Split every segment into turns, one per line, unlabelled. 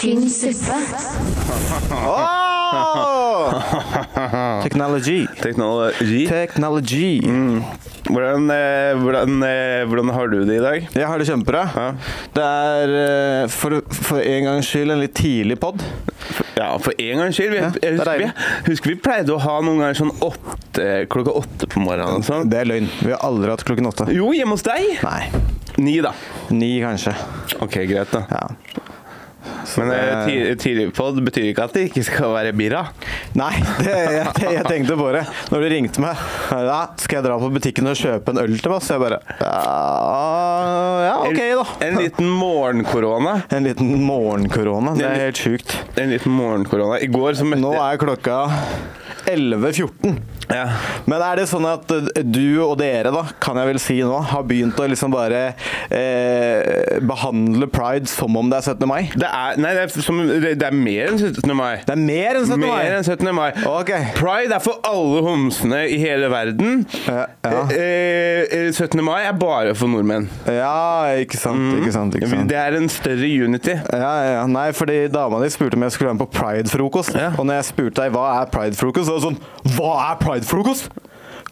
Tynn suppe.
Technology.
Teknologi. Mm.
Technology.
Hvordan, eh, hvordan, eh, hvordan har du det i dag?
Jeg har det kjempebra.
Ja.
Det er eh, for, for en gangs skyld en litt tidlig pod.
Ja, for en gangs skyld. Vi,
Ja,
jeg
det er
husker, vi,
deilig.
husker vi pleide å ha noen ganger sånn åtte, klokka åtte på morgenen. og Sånn.
Det er løgn. Vi har aldri hatt klokken åtte.
Jo, hjemme hos deg.
Nei.
Ni, da.
Ni, kanskje.
Ok, greit, da.
Ja.
Men eh,
det
ti- tidlig på det betyr ikke at det ikke skal være birra.
Nei, det, jeg, jeg tenkte på det når du ringte meg. Ja, skal jeg dra på butikken og kjøpe en øl til meg? Så jeg bare Ja, ja OK, da.
En liten morgenkorona.
En liten morgenkorona. Det er helt sjukt.
En liten morgenkorona. I går så møtte
Nå
jeg
er klokka 11.14.
ja.
Men er det sånn at eh, du og dere, da, kan jeg vel si nå, har begynt å liksom bare eh, behandle pride som om det er 17. mai?
det, er, nei, det, er som, det det er mer enn 17. mai.
Det er mer enn 17.
Mer
mai!
enn 17. mai.
Ok.
Pride er for alle homsene i hele verden.
Ja, ja.
Eh, eh, 17. mai er bare for nordmenn.
Ja, ikke sant, ikke sant. ikke sant.
Det er en større unity.
Ja, ja, Nei, fordi dama di spurte om jeg skulle være med på pridefrokost.
Ja.
Og når jeg spurte deg hva er pridefrokost, så var det sånn Hva er pridefrokost?!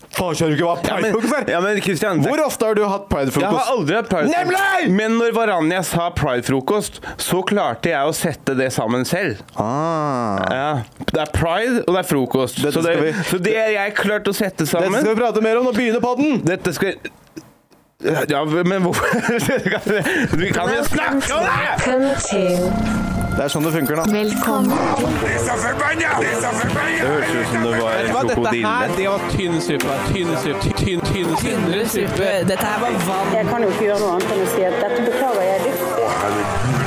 Faen, skjønner du ikke hva
men,
pridefrokost er?!
ja, men Christian, det-
Hvor ofte har du hatt
jeg har
pridefrokost?
aldri hatt pride
Nemlig!
Men når Varanja sa pridefrokost, så klarte jeg å sette det sammen selv.
Ah.
Ja. Det er pride, og det er frokost.
Dette
Så det,
skal vi-
så det har jeg klart å sette
Dette
sammen.
skal vi prate mer om når begynner podden!
Dette skal Ja, men hvorfor Vi kan jo snakke om det!
Welcome to.
Det er sånn det funker, da.
Velkommen til
Det hørtes ut som det var en krokodille.
det var tynn suppe. Tynn suppe. Tynn, tynn
Indre suppe. Dette her var vann.
Jeg kan jo ikke gjøre noe annet enn å si at dette beklager jeg dypt.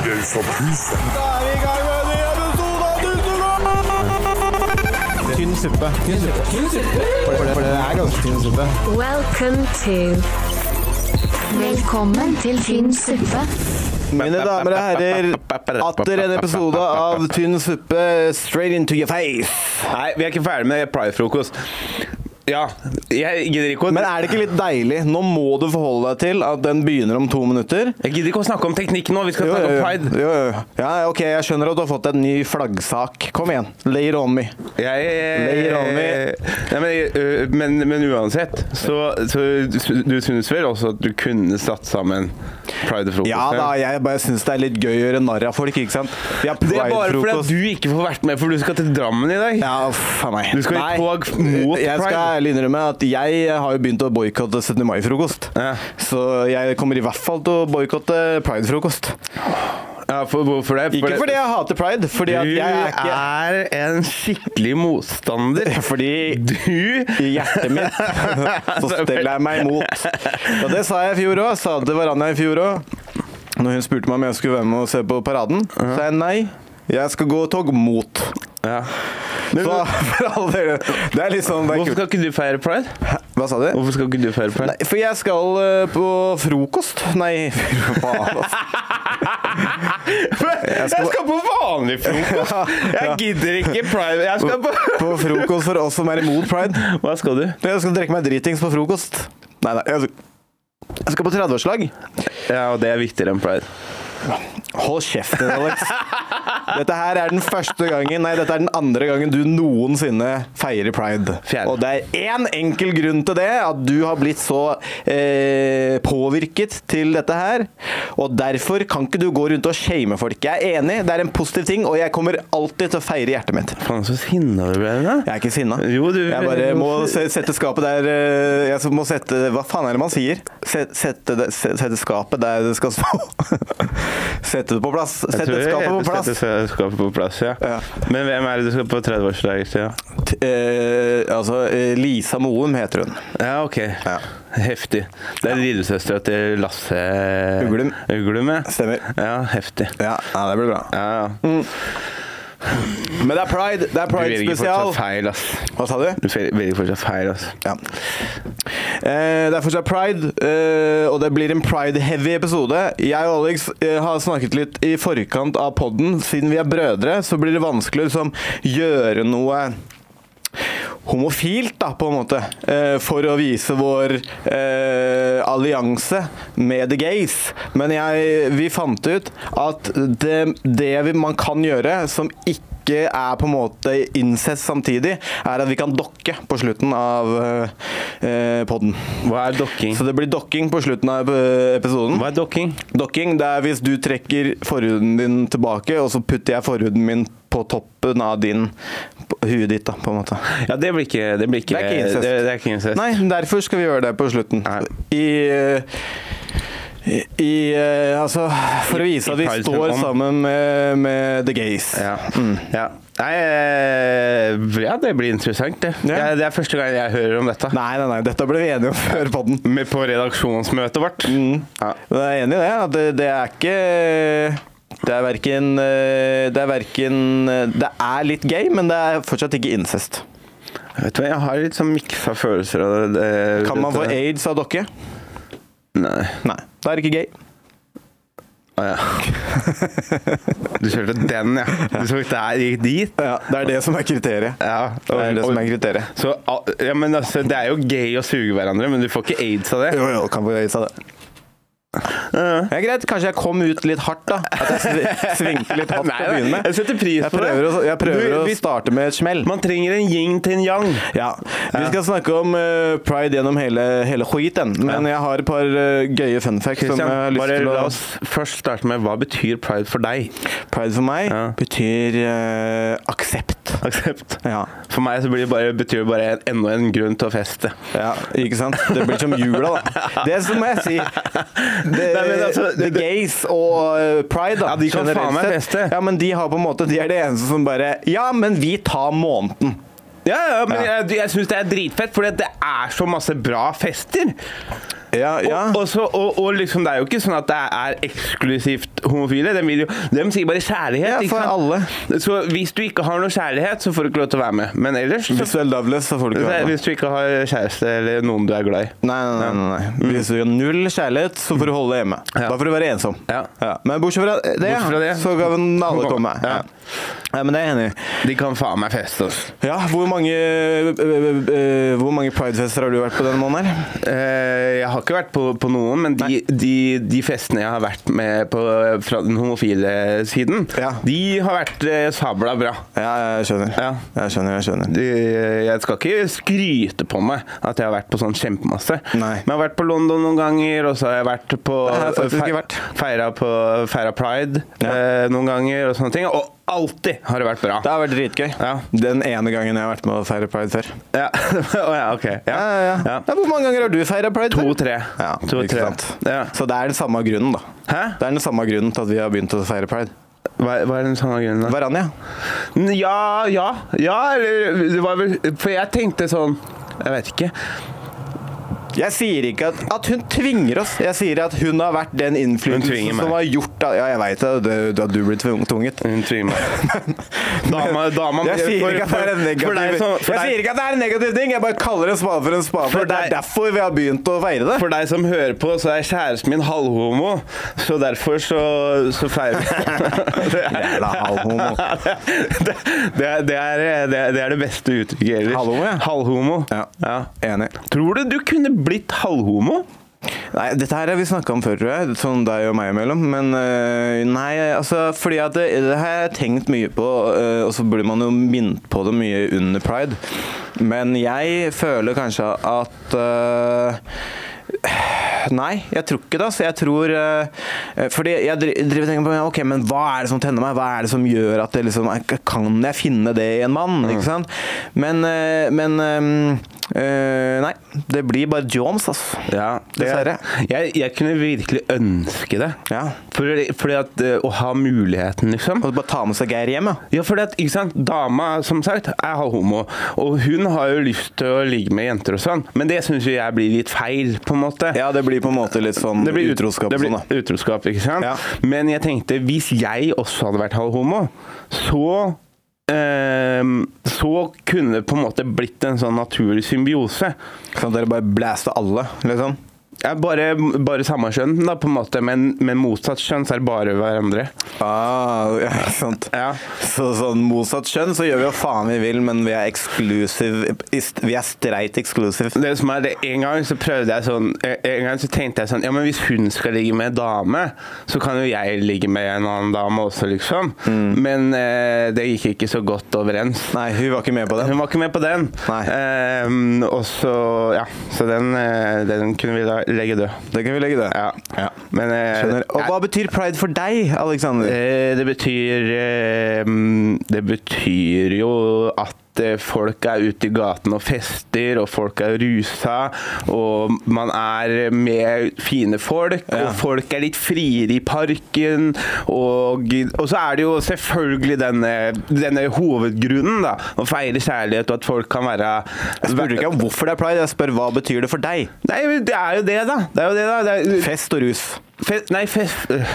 Tynn suppe. For det, for det er ganske tynn suppe.
Welcome to. Velkommen til tynn suppe.
Mine damer og herrer, atter en episode av Tynn suppe straight into your face.
Nei, vi er ikke ferdig med pridefrokost. Ja, jeg gidder ikke å
Men er det ikke litt deilig? Nå må du forholde deg til at den begynner om to minutter.
Jeg gidder ikke å snakke om teknikk nå, vi skal
Jo,
snakke
jo,
om
jo.
pride.
Jo, jo. Ja, ok, jeg skjønner at du har fått en ny flaggsak. Kom igjen, lay it on me.
Jeg,
Layer on me.
Nei, men, øh, men, men uansett, så, så du- du synes vel også at du kunne satt sammen pridefrokost?
Ja da, jeg bare syns det er litt gøy å gjøre narr av folk, ikke sant? Vi har
Det er bare fordi at
pridefrokost.
du ikke får vært med, for du skal til Drammen i dag.
Ja, faen meg.
Du skal i
Nei,
tog mot
Jeg skal
Pride.
ærlig innrømme at jeg har jo begynt å boikotte 17. mai-frokost.
Ja.
Så jeg kommer i hvert fall til å boikotte pride-frokost.
Ja, for, hvorfor det?
Ikke fordi jeg hater pride, fordi at
du
jeg er ikke
er en skikkelig motstander.
Fordi
Du
i hjertet mitt så steller jeg meg imot. Og det sa jeg i fjor òg. Sa det til Varanja i fjor òg. Når hun spurte meg om jeg skulle være med og se på paraden, sa jeg nei. Jeg skal gå tog mot.
ja.
Så for all del Det er litt sånn det er kult.
Hvorfor skal ikke du feire pride?
Hva sa du?
Hvorfor skal ikke du feire pride?
Nei, for jeg skal eh, på frokost. Nei, faen. ass.
jeg, skal på vanlig frokost! Jeg gidder ikke pride. Jeg skal på
På frokost for oss som er imot pride.
Hva skal du?
Jeg skal drikke meg dritings på frokost. Nei, nei. Jeg skal, jeg skal på 30-årslag.
Ja, og det er viktigere enn pride.
Hold kjeft, din, Alex. Dette her er den første gangen Nei, dette er den andre gangen du noensinne feirer pride.
Fjerde.
Og det er én enkel grunn til det, at du har blitt så eh, påvirket til dette her. Og derfor kan ikke du gå rundt og shame folk. Jeg er enig, det er en positiv ting, og jeg kommer alltid til å feire hjertet mitt.
Faen, så sinna du ble nå.
Jeg er ikke sinna.
Jo, du-
Jeg bare må se- sette skapet der eh, Jeg må sette Hva faen er det man sier? Se- Sette, det- se- sette skapet der det skal stå. Sette det på plass.
Jeg
Sette
tror jeg
skapet på
heter
plass.
Sette skapet på plass, ja.
Ja.
Men hvem er det du skal på 30-årsdager til?
T- eh, altså, eh, Lisa Moum heter hun.
Ja, ok. Heftig. Det er lillesøstera til Lasse
Uglum.
Uglum, ja.
Stemmer.
Ja, heftig.
Ja, ja, det blir bra.
Ja, ja.
Men det er pride. Det er
Du velger
pride-spesial.
fortsatt feil, ass.
Hva sa du?
Du fel- velger fortsatt feil, ass.
Ja. Eh, det er fortsatt pride, eh, og det blir en pride-heavy episode. Jeg og Alex eh, har snakket litt i forkant av podden. Siden vi er brødre, så blir det vanskelig å liksom, gjøre noe homofilt, da, på en måte, eh, for å vise vår eh, allianse med the gays. Men jeg, vi fant ut at det, det vi- man kan gjøre som ikke er på en måte incest samtidig, er at vi kan dokke på slutten av eh, podden.
Hva er dokking?
Så det blir dokking på slutten av eh, episoden.
Hva er dokking?
Dokking, det er hvis du trekker forhuden din tilbake, og så putter jeg forhuden min på toppen av din på huet ditt, da, på en måte.
Ja, det blir ikke Det, blir ikke,
Det er ikke incest.
Det, det er ikke incest.
Nei, derfor skal vi gjøre det på slutten.
Nei.
I eh, i, i eh, altså For å vise at vi
I Pride
står
Film om.
sammen med, med the gays. Mm.
Ja. mm. ja. Nei, eh, ja, det blir interessant, det.
Ja.
Ja, det er første gang jeg hører om dette.
Nei, nei, nei, dette ble vi enige om før podden.
Med på redaksjonsmøtet vårt.
Mm.
Ja.
Men Jeg er enig i det. At det, det er ikke Det er verken eh, Det er verken Det er litt gay, men det er fortsatt ikke incest.
Vet du hva, jeg har litt sånn miksa følelser av det. det
Kan man få
dette.
aids av dokke?
Nei.
Nei. Da er det ikke gay.
Å ja. Du kjørte den, ja. Du så ikke der gikk dit.
Ja, det er det som er kriteriet.
Ja,
Det er det som er kriteriet.
Så, al- ja, men altså, det er jo gay å suge hverandre, men du får ikke aids av det.
Jo, jo, kan få aids av det. Ja, greit, kanskje jeg kom ut litt hardt, da. At jeg svi- svingte litt hardt til å
Nei,
begynne
Jeg
med.
setter pris
Jeg
på det.
prøver, å, jeg prøver
Du,
å
vi-
starte med et smell.
Man trenger en yin til en yang.
Ja. Vi skal snakke om eh, pride gjennom hele, hele skiten, men jeg har et par eh, gøye fun facts som jeg har
Kristian,
lyst
bare
til
la
å
oss først starte med hva betyr pride for deg?
Pride for meg
Ja.
betyr eh, aksept.
Aksept.
Ja.
For meg så blir det bare, betyr det bare en- enda en grunn til å feste.
Ja, ikke sant? Det blir som jula, da. Det som må jeg si det,
Nei, men altså,
The
det-
gays og eh, pride, da.
Ja, de kan
generelt
faen meg
sett.
feste.
Ja, men de har på en måte De er det eneste som bare Ja, men vi tar måneden.
Ja, ja, men
Ja.
jeg, jeg syns det er dritfett, for det er så masse bra fester.
Ja, ja.
Og, og, så, og, og liksom, det er jo ikke sånn at det er eksklusivt homofile. De, vil jo, de sier bare kjærlighet.
Ja,
ikke
for
sant?
alle.
Så hvis du ikke har noe kjærlighet, så får du ikke lov til å være med. Men ellers så,
Hvis du er loveless, så får du ikke
Nei,
være med.
Hvis du ikke har kjæreste eller noen du er glad i.
Nei, nei, nei, nei, nei. Hvis du har null kjærlighet, så får du holde deg hjemme.
Ja.
Da får du være ensom.
Ja.
Men bortsett fra det,
Bortsett fra det.
så kan alle komme. Ja.
Ja.
Nei, men det er jeg enig i.
De kan faen meg feste altså. oss.
Ja, hvor mange, øh, øh, øh, hvor mange pridefester har du vært på denne måneden her?
Eh, jeg har ikke vært på, på noen, men de, de, de festene jeg har vært med på fra den homofile siden,
Ja.
de har vært eh, sabla bra.
Ja, jeg skjønner.
Ja.
Jeg skjønner, jeg skjønner.
De, jeg skal ikke skryte på meg at jeg har vært på sånn kjempemasse.
Nei.
Men jeg har vært på London noen ganger, og så har jeg vært på
Det har jeg faktisk
fe-
ikke vært.
Feira, på, feira pride
Ja.
eh, noen ganger og sånne ting. Og alltid har det vært bra.
Det har vært dritgøy.
Ja.
Den ene gangen jeg har vært med å feire pride før.
Ja. Å ja, ok. Ja.
Ja, ja, ja.
Ja.
Ja, hvor mange ganger har du feira pride? før?
To-tre.
Ja,
to,
ikke
tre.
sant.
Ja.
Så det er den samme grunnen, da.
Hæ?
Det er den samme grunnen til at vi har begynt å feire pride.
Hva, hva er den samme grunnen? da?
Varanja.
Ja, ja, ja eller, det var vel, For jeg tenkte sånn Jeg vet ikke.
Jeg sier ikke at, at hun tvinger oss. Jeg sier at hun har vært den
tvinger
innflytelsen
meg.
som har gjort at Ja, jeg veit det, det- at du blir tvung- tvunget.
Hun tvinger meg. Dama, dama
Jeg sier ikke at det er en
for deg
negativ
som,
Jeg
for
sier
deg,
ikke at det er en negativ ting, jeg bare kaller en spade for en spade.
For
For det er
deg-
derfor vi har begynt å feire det.
for deg som hører på, så er kjæresten min halvhomo, så derfor så, så feirer vi det, er,
Jævla halvhomo.
det, det, er, det, er, det, er, det er det beste uttrykket ellers.
Halvhomo, ja.
Halvhomo.
Ja. Enig.
Tror du du kunne blitt halvhomo?
Nei, dette her har vi snakka om før, tror jeg. Sånn deg og meg imellom. Men øh, nei, altså Fordi at det, det har jeg tenkt mye på, øh, og så blir man jo minnet på det mye under pride. Men jeg føler kanskje at øh, Nei, jeg tror ikke det. Altså. Jeg tror øh, Fordi jeg dri- driver og tenker på ja, Ok, men hva er det som tenner meg? Hva er det som gjør at det liksom Kan jeg finne det i en mann? Ikke sant? Men, øh, men øh, øh, Nei. Det blir bare Jones, altså.
Ja,
Dessverre.
Jeg, jeg kunne virkelig ønske det.
Ja.
Fordi, fordi at eh, å ha muligheten, liksom.
Og bare ta med seg Geir hjem, ja.
Ja, fordi at, ikke sant, dama, som sagt, er homo, og hun har jo lyst til å ligge med jenter og sånn, men det syns jo jeg blir litt feil, på en måte.
Ja, det blir på en måte litt sånn
Det blir ut-
utroskap
det
og
blir
sånn, da.
Utroskap, ikke sant?
Ja.
Men jeg tenkte, hvis jeg også hadde vært halv homo, så ehm, så kunne det på en måte blitt en sånn naturlig symbiose.
Sånn at dere bare blaster alle, liksom.
Ja, bare, bare samme kjønn, da, på en måte, men, men motsatt kjønn, så er det bare hverandre.
Ah, ja, ikke sant.
Ja.
Så sånn motsatt kjønn, så gjør vi jo faen vi vil, men vi er exclusive ist- Vi er streit exclusive.
Det som er det, En gang så prøvde jeg sånn eh, En gang så tenkte jeg sånn Ja, men hvis hun skal ligge med en dame, så kan jo jeg ligge med en annen dame også, liksom. Men eh, det gikk ikke så godt overens.
Mm. Nei, hun var ikke med på det.
Hun var ikke med på den.
Nei.
Ehm, og så Ja, så den, eh, den kunne vi da legge død.
Det kan vi legge det.
Ja.
Ja.
Men eh,
Skjønner. Og
jeg-
hva betyr pride for deg, Alexander?
Eh, Det betyr eh, Det betyr jo at eh, folk er ute i gaten og fester, og folk er rusa, og man er med fine folk, og folk er litt friere i parken, og, og så er det jo selvfølgelig denne, denne hovedgrunnen, da, å feire kjærlighet, og at folk kan være
Jeg spurte ikke om hvorfor det er pride, jeg spør hva betyr det for deg?
Nei, men det er jo det, da. Det er jo det, da. Det er,
Fest og rus
fest, nei, fest, øh,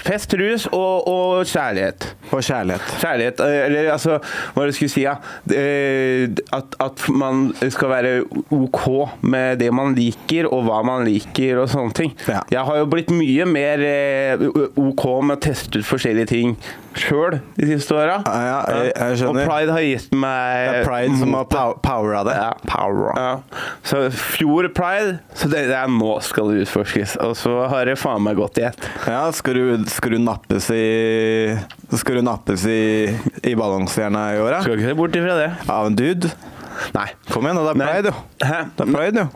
fest rus og, og kjærlighet.
og kjærlighet.
Kjærlighet eh, Eller altså, hva var det jeg skulle si? Ja. Eh, At, at man skal være OK med det man liker, og hva man liker, og sånne ting.
Ja.
Jeg har jo blitt mye mer eh, OK med å teste ut forskjellige ting sjøl de siste åra.
Ja, ja, jeg- jeg skjønner.
og pride har gitt meg Mm.
Det er pride som har pow- power av det.
ja. Ja. Så fjor pride, så det, det er nå skal det utforskes. Og så har det faen meg gått i ett.
Ja, skal du, skal du nappes i Skal du nappes i, i balansejerna i åra?
Skal ikke se bort ifra det.
Av en dude?
Nei.
Kom igjen, da. Det er
Nei.
pride, jo.
Hæ?
Det er pride, jo.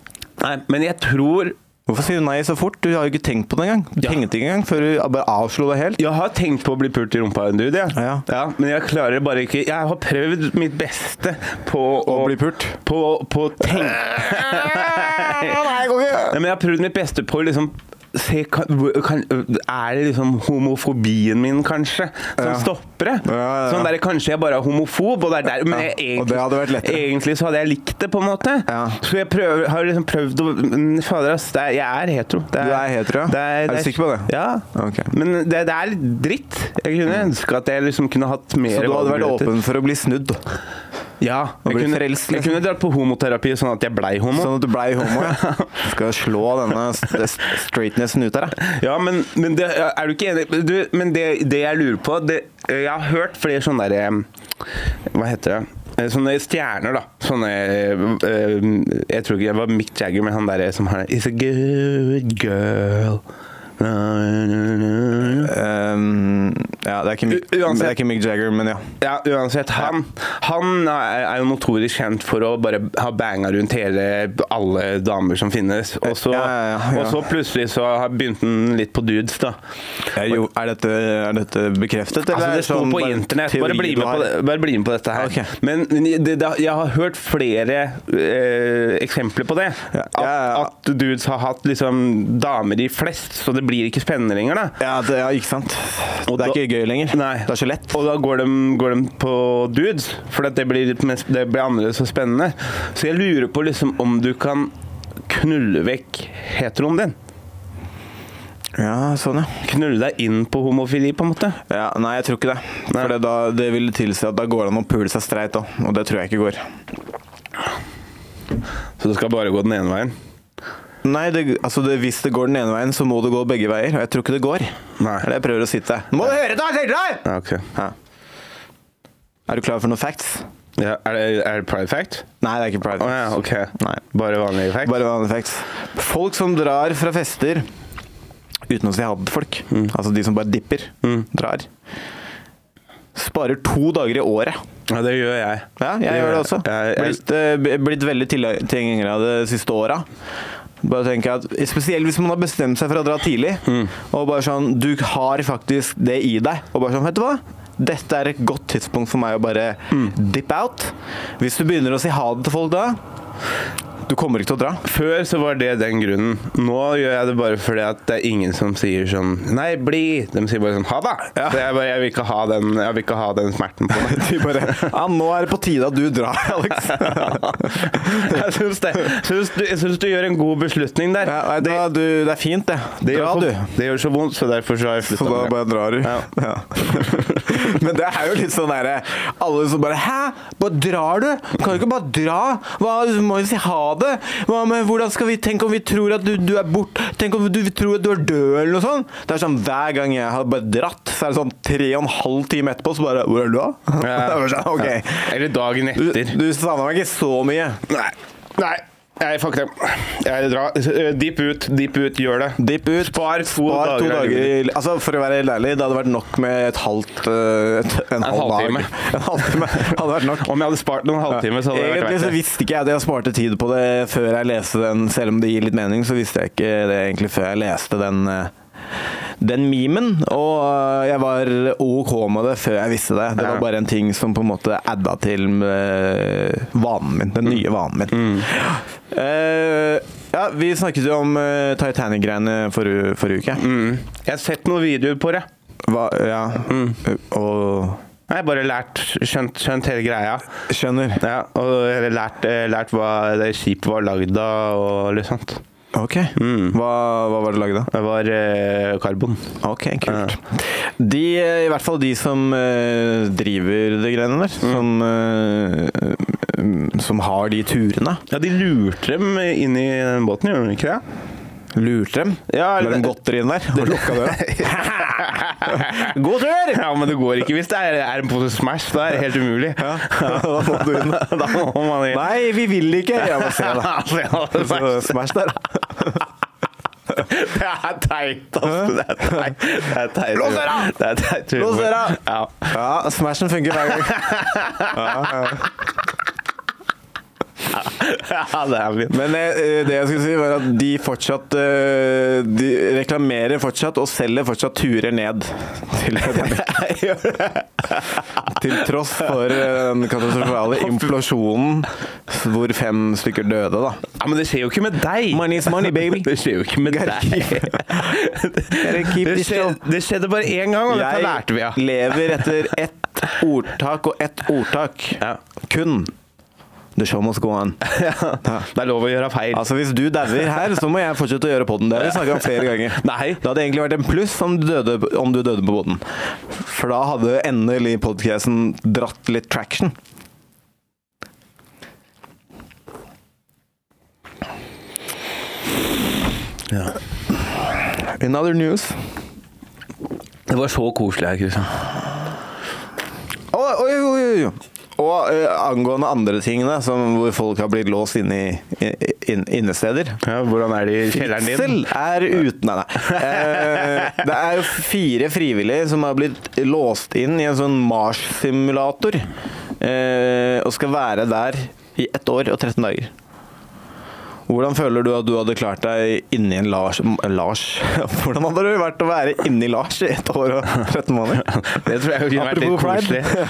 Nei, men jeg tror
Hvorfor sier du nei så fort? Du har jo ikke tenkt på det engang. Du
Ja.
tenkte ikke engang før du bare avslo det helt.
Jeg har tenkt på å bli pult i rumpa av en dude, ja.
Ja.
men jeg klarer bare ikke Jeg har prøvd mitt beste på å,
bli pult?
På, på å tenke Nei, men jeg har prøvd mitt beste på å liksom Se, kan, hvor- kan, er det liksom homofobien min, kanskje, som
Ja.
stopper det?
Ja, ja, ja.
Sånn der, Kanskje jeg bare er homofob, og det er der, men
Ja,
jeg,
og det hadde vært lettere.
egentlig så hadde jeg likt det, på en måte.
Ja.
Så jeg prøver, har liksom prøvd å men Fader, ass, det er, jeg er hetero. Det
Du er hetero, ja?
det
Er du sikker på det?
Ja.
Ok. Mm.
Men det, det er litt dritt. Jeg kunne ønske at jeg liksom kunne hatt mer
Så du hadde vært
valgmuligheter.
åpen for å bli snudd?
Ja. Jeg
blitt
kunne,
frelst,
jeg
liksom.
kunne dratt på homoterapi sånn at jeg blei homo.
Sånn at du blei homo? Ja. Skal jeg slå denne st- st- straightnessen ut her, da.
Ja, men, men det, er du ikke enig du, Men det, det jeg lurer på det, Jeg har hørt flere sånne der, eh, Hva heter det? Eh, Sånne stjerner, da. Sånne eh, eh, Jeg tror ikke det var Mick Jagger, men han derre som har It's a good girl. Na, na, na, na.
Um, ja, det er, ikke Mick,
U- uansett.
det er ikke Mick Jagger, men ja.
Ja, uansett. Han, han er er jo notorisk kjent for å bare ha banga rundt hele alle damer som finnes. Og så,
Ja, ja, ja, ja.
Og så plutselig så har- begynte han litt på dudes, da.
Er, jo, er, dette, er dette bekreftet, eller
Altså,
er
det sto
sånn
på
bare en
internett.
teori
Bare bli,
du
med
har?
på det, bare bli med på dette her.
Ok.
Men det, det, jeg har hørt flere eh, eksempler på det.
Ja,
At,
ja, ja.
at dudes har hatt liksom damer i flest, så det blir ikke spennende lenger, da.
Ja, det, ja, ikke sant.
Og
det er
da-
ikke gøy lenger.
Nei.
Det er så lett.
Og da går de, går de på dudes, for at det blir, litt mer- det blir annerledes og spennende. Så jeg lurer på liksom om du kan knulle vekk heteroen din.
Ja, sånn, ja.
Knulle deg inn på homofili, på en måte.
ja. Nei, jeg tror ikke det.
Nei.
For det, da, det vil tilsi at da går det an å pule seg streit òg, og det tror jeg ikke går.
Så det skal bare gå den ene veien.
Nei, det, altså det, hvis det går den ene veien, så må det gå begge veier, og jeg tror ikke det går.
Nei.
Det er det jeg prøver å si til deg. Må du høre, da! Tenker deg!
Ja, ok.
Ja. Er du klar for noen facts?
Ja, er, det, er det pride fact?
Nei, det er ikke pride.
Å ja, ok.
Nei.
Bare vanlig fact?
Bare vanlige facts. Folk som drar fra fester uten å si ha det til folk, altså de som bare dipper, drar, sparer to dager i året.
Ja, det gjør jeg.
Ja, jeg gjør det også.
Jeg, jeg,
Blitt, eh, b- blitt veldig tilhe- tilhenger av det siste åra. Bare tenker jeg at Spesielt hvis man har bestemt seg for å dra tidlig, og bare sånn Du har faktisk det i deg. Og bare sånn, vet du hva? Dette er et godt tidspunkt for meg å bare dip out. Hvis du begynner å si ha det til folk da, du kommer ikke til å dra.
før så var det den grunnen. Nå gjør jeg det bare fordi at det er ingen som sier sånn Nei, bli! De sier bare sånn ha det!
Ja.
Så jeg, bare, jeg, vil ikke ha den, jeg vil ikke ha den smerten på meg.
De bare Ja, nå er det på tide at du drar, Alex.
jeg syns, det, syns du, jeg syns du gjør en god beslutning der.
Ja, nei, da, du, det er fint, det.
det,
Dra,
gjør
du.
så, det gjør så vondt, så derfor så har jeg
Så
slutta
da
med det.
bare drar du.
Ja.
Ja. Men det er jo litt sånn derre Alle som bare Hæ? Bare drar du? Du kan jo ikke bare dra! Hva, du må jo si ha det? Hva med, hvordan skal vi Tenk om vi tror at du, du er bort Tenk om du vi tror at du er død, eller noe sånt? Det er sånn hver gang jeg har bare dratt, så er det sånn tre og en halv time etterpå, så bare Hvor er du, da? Det er bare sånn, ok.
Eller dagen
Du,
etter.
du savner meg ikke så mye.
Nei. Nei. Nei, fuck det. Jeg drar. Eh, Deep ut, deep ut, gjør det.
Dipp ut.
Spar to
Spar to
dager. av
dager
livet.
i- Altså, for å være helt ærlig, det hadde vært nok med et halvt eh, et, En, halv dag.
halvtime.
En halvtime. Hadde vært nok.
Om jeg hadde spart noen halvtime, så hadde det vært
Egentlig så
verdt det.
visste ikke jeg det. Jeg sparte tid på det før jeg leste den, selv om det gir litt mening. Så visste jeg ikke det egentlig før jeg leste den, eh, den memen. Og eh, jeg var OK med det før jeg visste det. Det
Ja.
var bare en ting som på en måte adda til eh, vanen min. Den
Mm.
nye vanen min. Eh, ja, vi snakket jo om eh, Titanic-greiene forrige, forrige uke.
Mm. Jeg har sett noen videoer på det. Mm.
Hva, ja. Og
Jeg har bare lært, skjønt, skjønt hele greia.
skjønner.
Ja, og jeg har lært, eh, lært hva det skipet var lagd av og litt sånt.
OK.
Mm.
Hva, hva var det laget av?
Det var eh, karbon.
Ok, kult. De, eh, I hvert fall de som eh, driver de greiene der,
Mm.
som, eh, mm, som har de turene,
Ja, de lurte dem inn i den båten, gjorde de ikke det?
lurte dem.
Ja,
Lar
det-
dem godteri inn der og lukka døra. God tur!
Ja, men det går ikke hvis det er, er en pose Smash. Da er det helt umulig.
Ja, da må du inn.
da må man inn.
Nei, vi vil ikke! Jeg må se det.
Altså, ja, det er
Så
verst.
Smash der.
Det er teit, altså. Det er teit. Det er teit.
Lås døra!
Det er teit humor.
Lås døra!
Ja.
Ja, Smashen funker hver gang.
ja, det er fint.
Men eh, det jeg skulle si, var at de fortsatt eh, De reklamerer fortsatt og selger fortsatt turer ned til Titanic. Til tross for eh, den katastrofale implosjonen hvor fem stykker døde, da.
Ja, men det skjer jo ikke med deg.
Money's money, baby.
Det skjer jo ikke med
Gotta
deg.
Gotta keep
det,
this
skjedde, det skjedde bare én gang, og dette lærte vi av.
Jeg lever etter ett ordtak og ett ordtak.
Ja.
Kun. The show must go on.
Det er lov å gjøre feil.
Altså Hvis du dauer her, så må jeg fortsette å gjøre podden. Det har vi snakket om flere ganger.
Nei.
Det hadde egentlig vært en pluss om du døde, om du døde på podden. For da hadde endelig podcasten dratt litt traction. In other news
det var så koselig her, Kristian.
Å, Oi, oi, oi, oi. Og eh, angående andre tingene, som hvor folk har blitt låst inne i inn- innesteder.
Ja, hvordan er det i kjelleren din?
Fritzel er uten Nei, nei. Eh, Det er jo fire frivillige som har blitt låst inn i en sånn Mars-simulator. eh, Og skal være der i ett år og 13 dager. Hvordan føler du at du hadde klart deg inni en Lars Lars? Hvordan hadde det vært å være inni Lars i ett år og 13 måneder?
Det tror jeg kunne vært litt koselig.
Pride.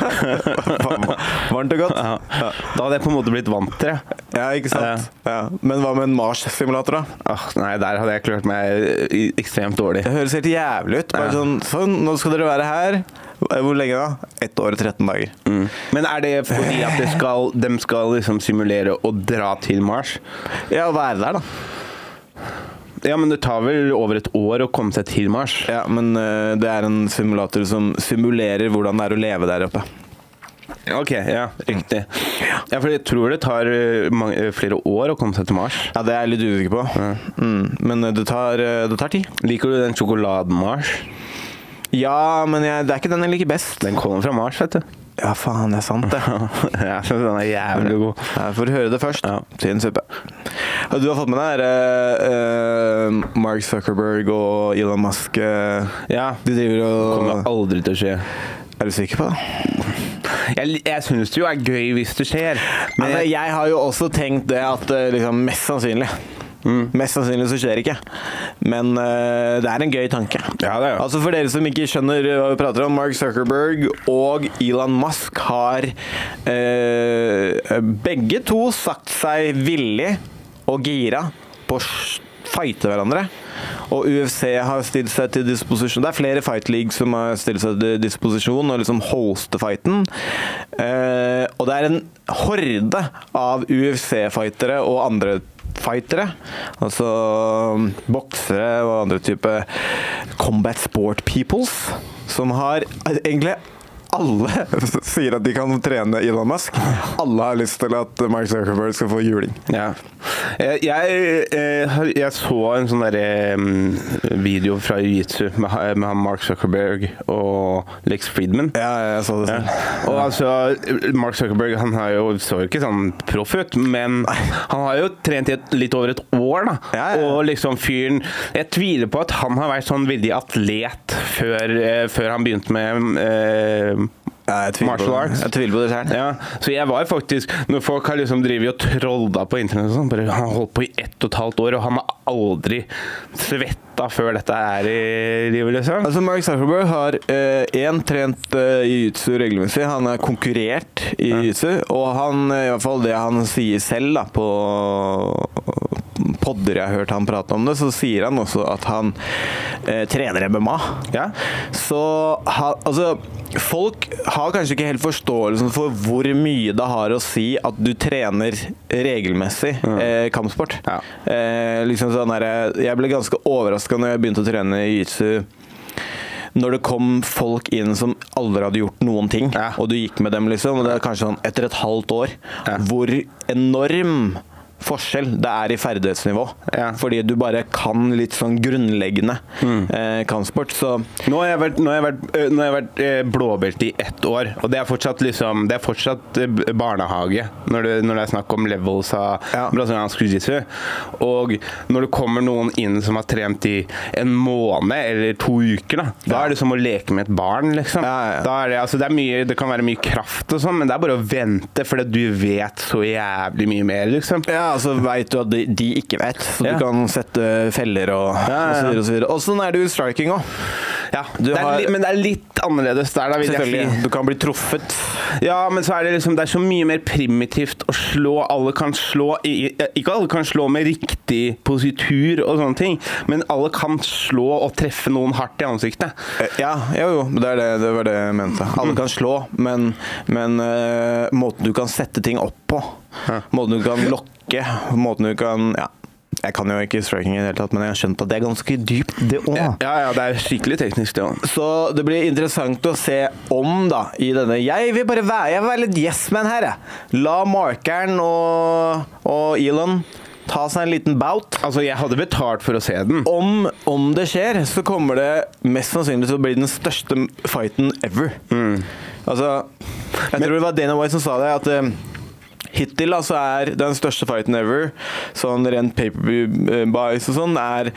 Varmt og godt.
Ja. Da hadde jeg på en måte blitt vant til det.
Ja, ikke sant? Ja. Men hva med en Mars-simulator, da?
Ah, nei, der hadde jeg klart meg eh, ekstremt dårlig.
Det høres helt jævlig ut. Bare
Ja.
sånn, sånn, nå skal dere være her. Hvor lenge da? Ett år og 13 dager.
Mm. Men er det fordi at de skal, dem skal liksom simulere å dra til Mars?
Ja, å være der, da.
Ja, men det tar vel over et år å komme seg til Mars?
Ja, Men eh, det er en simulator som simulerer hvordan det er å leve der oppe.
Ok, ja, riktig. Ja, for jeg tror det tar eh, mange, eh, flere år å komme seg til Mars.
Ja, det er jeg litt usikker på. Mm. Men eh, det tar, eh, det tar tid.
Liker du den sjokoladen Mars?
Ja, men jeg, det er ikke den jeg liker best.
Den kommer fra Mars, vet du.
Ja, faen, det er sant, det.
Jeg synes den er jævlig god.
Ja, får høre det først.
Ja.
Tynn suppe. Og Du har fått med deg eh, eh, Mark Zuckerberg og Elon Musk. eh,
Ja,
De driver
kommer
og
aldri til å skje.
Er du sikker på det?
Jeg, jeg synes det jo er gøy hvis det skjer, men
altså, jeg har jo også tenkt det at eh, liksom, mest sannsynlig
Mm.
Mest sannsynlig så skjer det ikke. Men eh, det er en gøy tanke.
Ja, det er det.
Altså For dere som ikke skjønner eh, hva vi prater om, Mark Zuckerberg og Elon Musk har eh, begge to sagt seg villig og gira på å s- fighte hverandre. Og UFC har stilt seg til disposisjon. Det er flere fight league som har stilt seg til disposisjon og liksom hoste fighten. Eh, og det er en horde av UFC-fightere og andre fightere. Altså boksere og andre type combat sport peoples. Som har egentlig alle sier at de kan trene Elon Musk. Alle har lyst til at Mark Zuckerberg skal få juling.
Ja. Jeg, jeg, eh, har- jeg så en sånn derre mm, video fra jiu-jitsu med, ha- med han Mark Zuckerberg og Lex Friedman.
Ja, jeg så det selv.
Og altså, Mark Zuckerberg han har jo, så jo ikke sånn proff ut, men han har jo trent i et, litt over et år, da.
Ja, ja, ja.
Og liksom fyren Jeg tviler på at han har vært sånn veldig atlet før, eh, før han begynte med eh,
Ja, jeg tviler på
Martial
det.
arts.
Jeg tviler på det selv.
ja, så jeg var faktisk Når folk har liksom drevet og trolla på internett og sånn, bare han har holdt på i ett og et halvt år, og han har aldri svetta før dette er i livet, liksom.
Altså, Mark Zuckerberg har én trent eh, jiu-jitsu regelmessig. Han har konkurrert i jiu-jitsu, og han, eh, i hvert fall det han sier selv da, på podder jeg har hørt han prate om det, så sier han også at han eh, trener MMA.
Ja.
Så ha, altså Folk har kanskje ikke helt forståelsen for hvor mye det har å si at du trener regelmessig eh, kampsport.
Ja.
Eh, liksom sånn her, jeg ble ganske overraska når jeg begynte å trene jiu-jitsu. Når det kom folk inn som aldri hadde gjort noen ting,
Ja.
og du gikk med dem liksom, og det er kanskje sånn etter et halvt år,
Ja.
hvor enorm forskjell det er i ferdighetsnivå.
Ja.
Fordi du bare kan litt sånn grunnleggende
Mm.
eh, kampsport. Så
Nå har jeg vært, nå har jeg vært, øh, nå har jeg vært øh, blåbelte i ett år, og det er fortsatt, liksom, det er fortsatt øh, b- barnehage når det, når det er snakk om levels av
Ja.
brasiliansk jiu-jitsu. Og når det kommer noen inn som har trent i en måned eller to uker, da, da er det som å leke med et barn, liksom.
Ja, ja.
Da er det, altså, det, er mye, det kan være mye kraft og sånn, men det er bare å vente, for du vet så jævlig mye mer, liksom.
Ja, altså veit du at de, de ikke vet, så
Ja.
du kan sette feller og,
Ja, ja, ja.
og så videre og så videre. Og sånn er det jo i striking òg.
Ja,
Du
det er
har-
li, men det er litt annerledes der, da, vil jeg si.
Selvfølgelig. Du kan bli truffet.
Ja, men så er det liksom Det er så mye mer primitivt å slå. Alle kan slå i- i- Ikke alle kan slå med riktig positur og sånne ting, men alle kan slå og treffe noen hardt i ansiktet.
Eh, Ja, jo, jo. Det, er det, det var det jeg mente. Alle kan slå, men, men eh, måten du kan sette ting opp på, måten du kan lokke, måten du kan Ja. Jeg kan jo ikke striking i det hele tatt, men jeg har skjønt at det er ganske dypt, det òg.
Ja, ja, det er skikkelig teknisk, det òg.
Så det blir interessant å se om, da, i denne Jeg vil bare være, jeg vil være litt yes-man her, jeg. La markeren og, og Elon ta seg en liten bout.
Altså, jeg hadde betalt for å se den.
Om, om det skjer, så kommer det mest sannsynlig til å bli den største fighten ever. Altså Jeg tror det var Dana White som sa det, at eh, hittil da, så er den største fighten ever, sånn rent paperbuys og sånn, er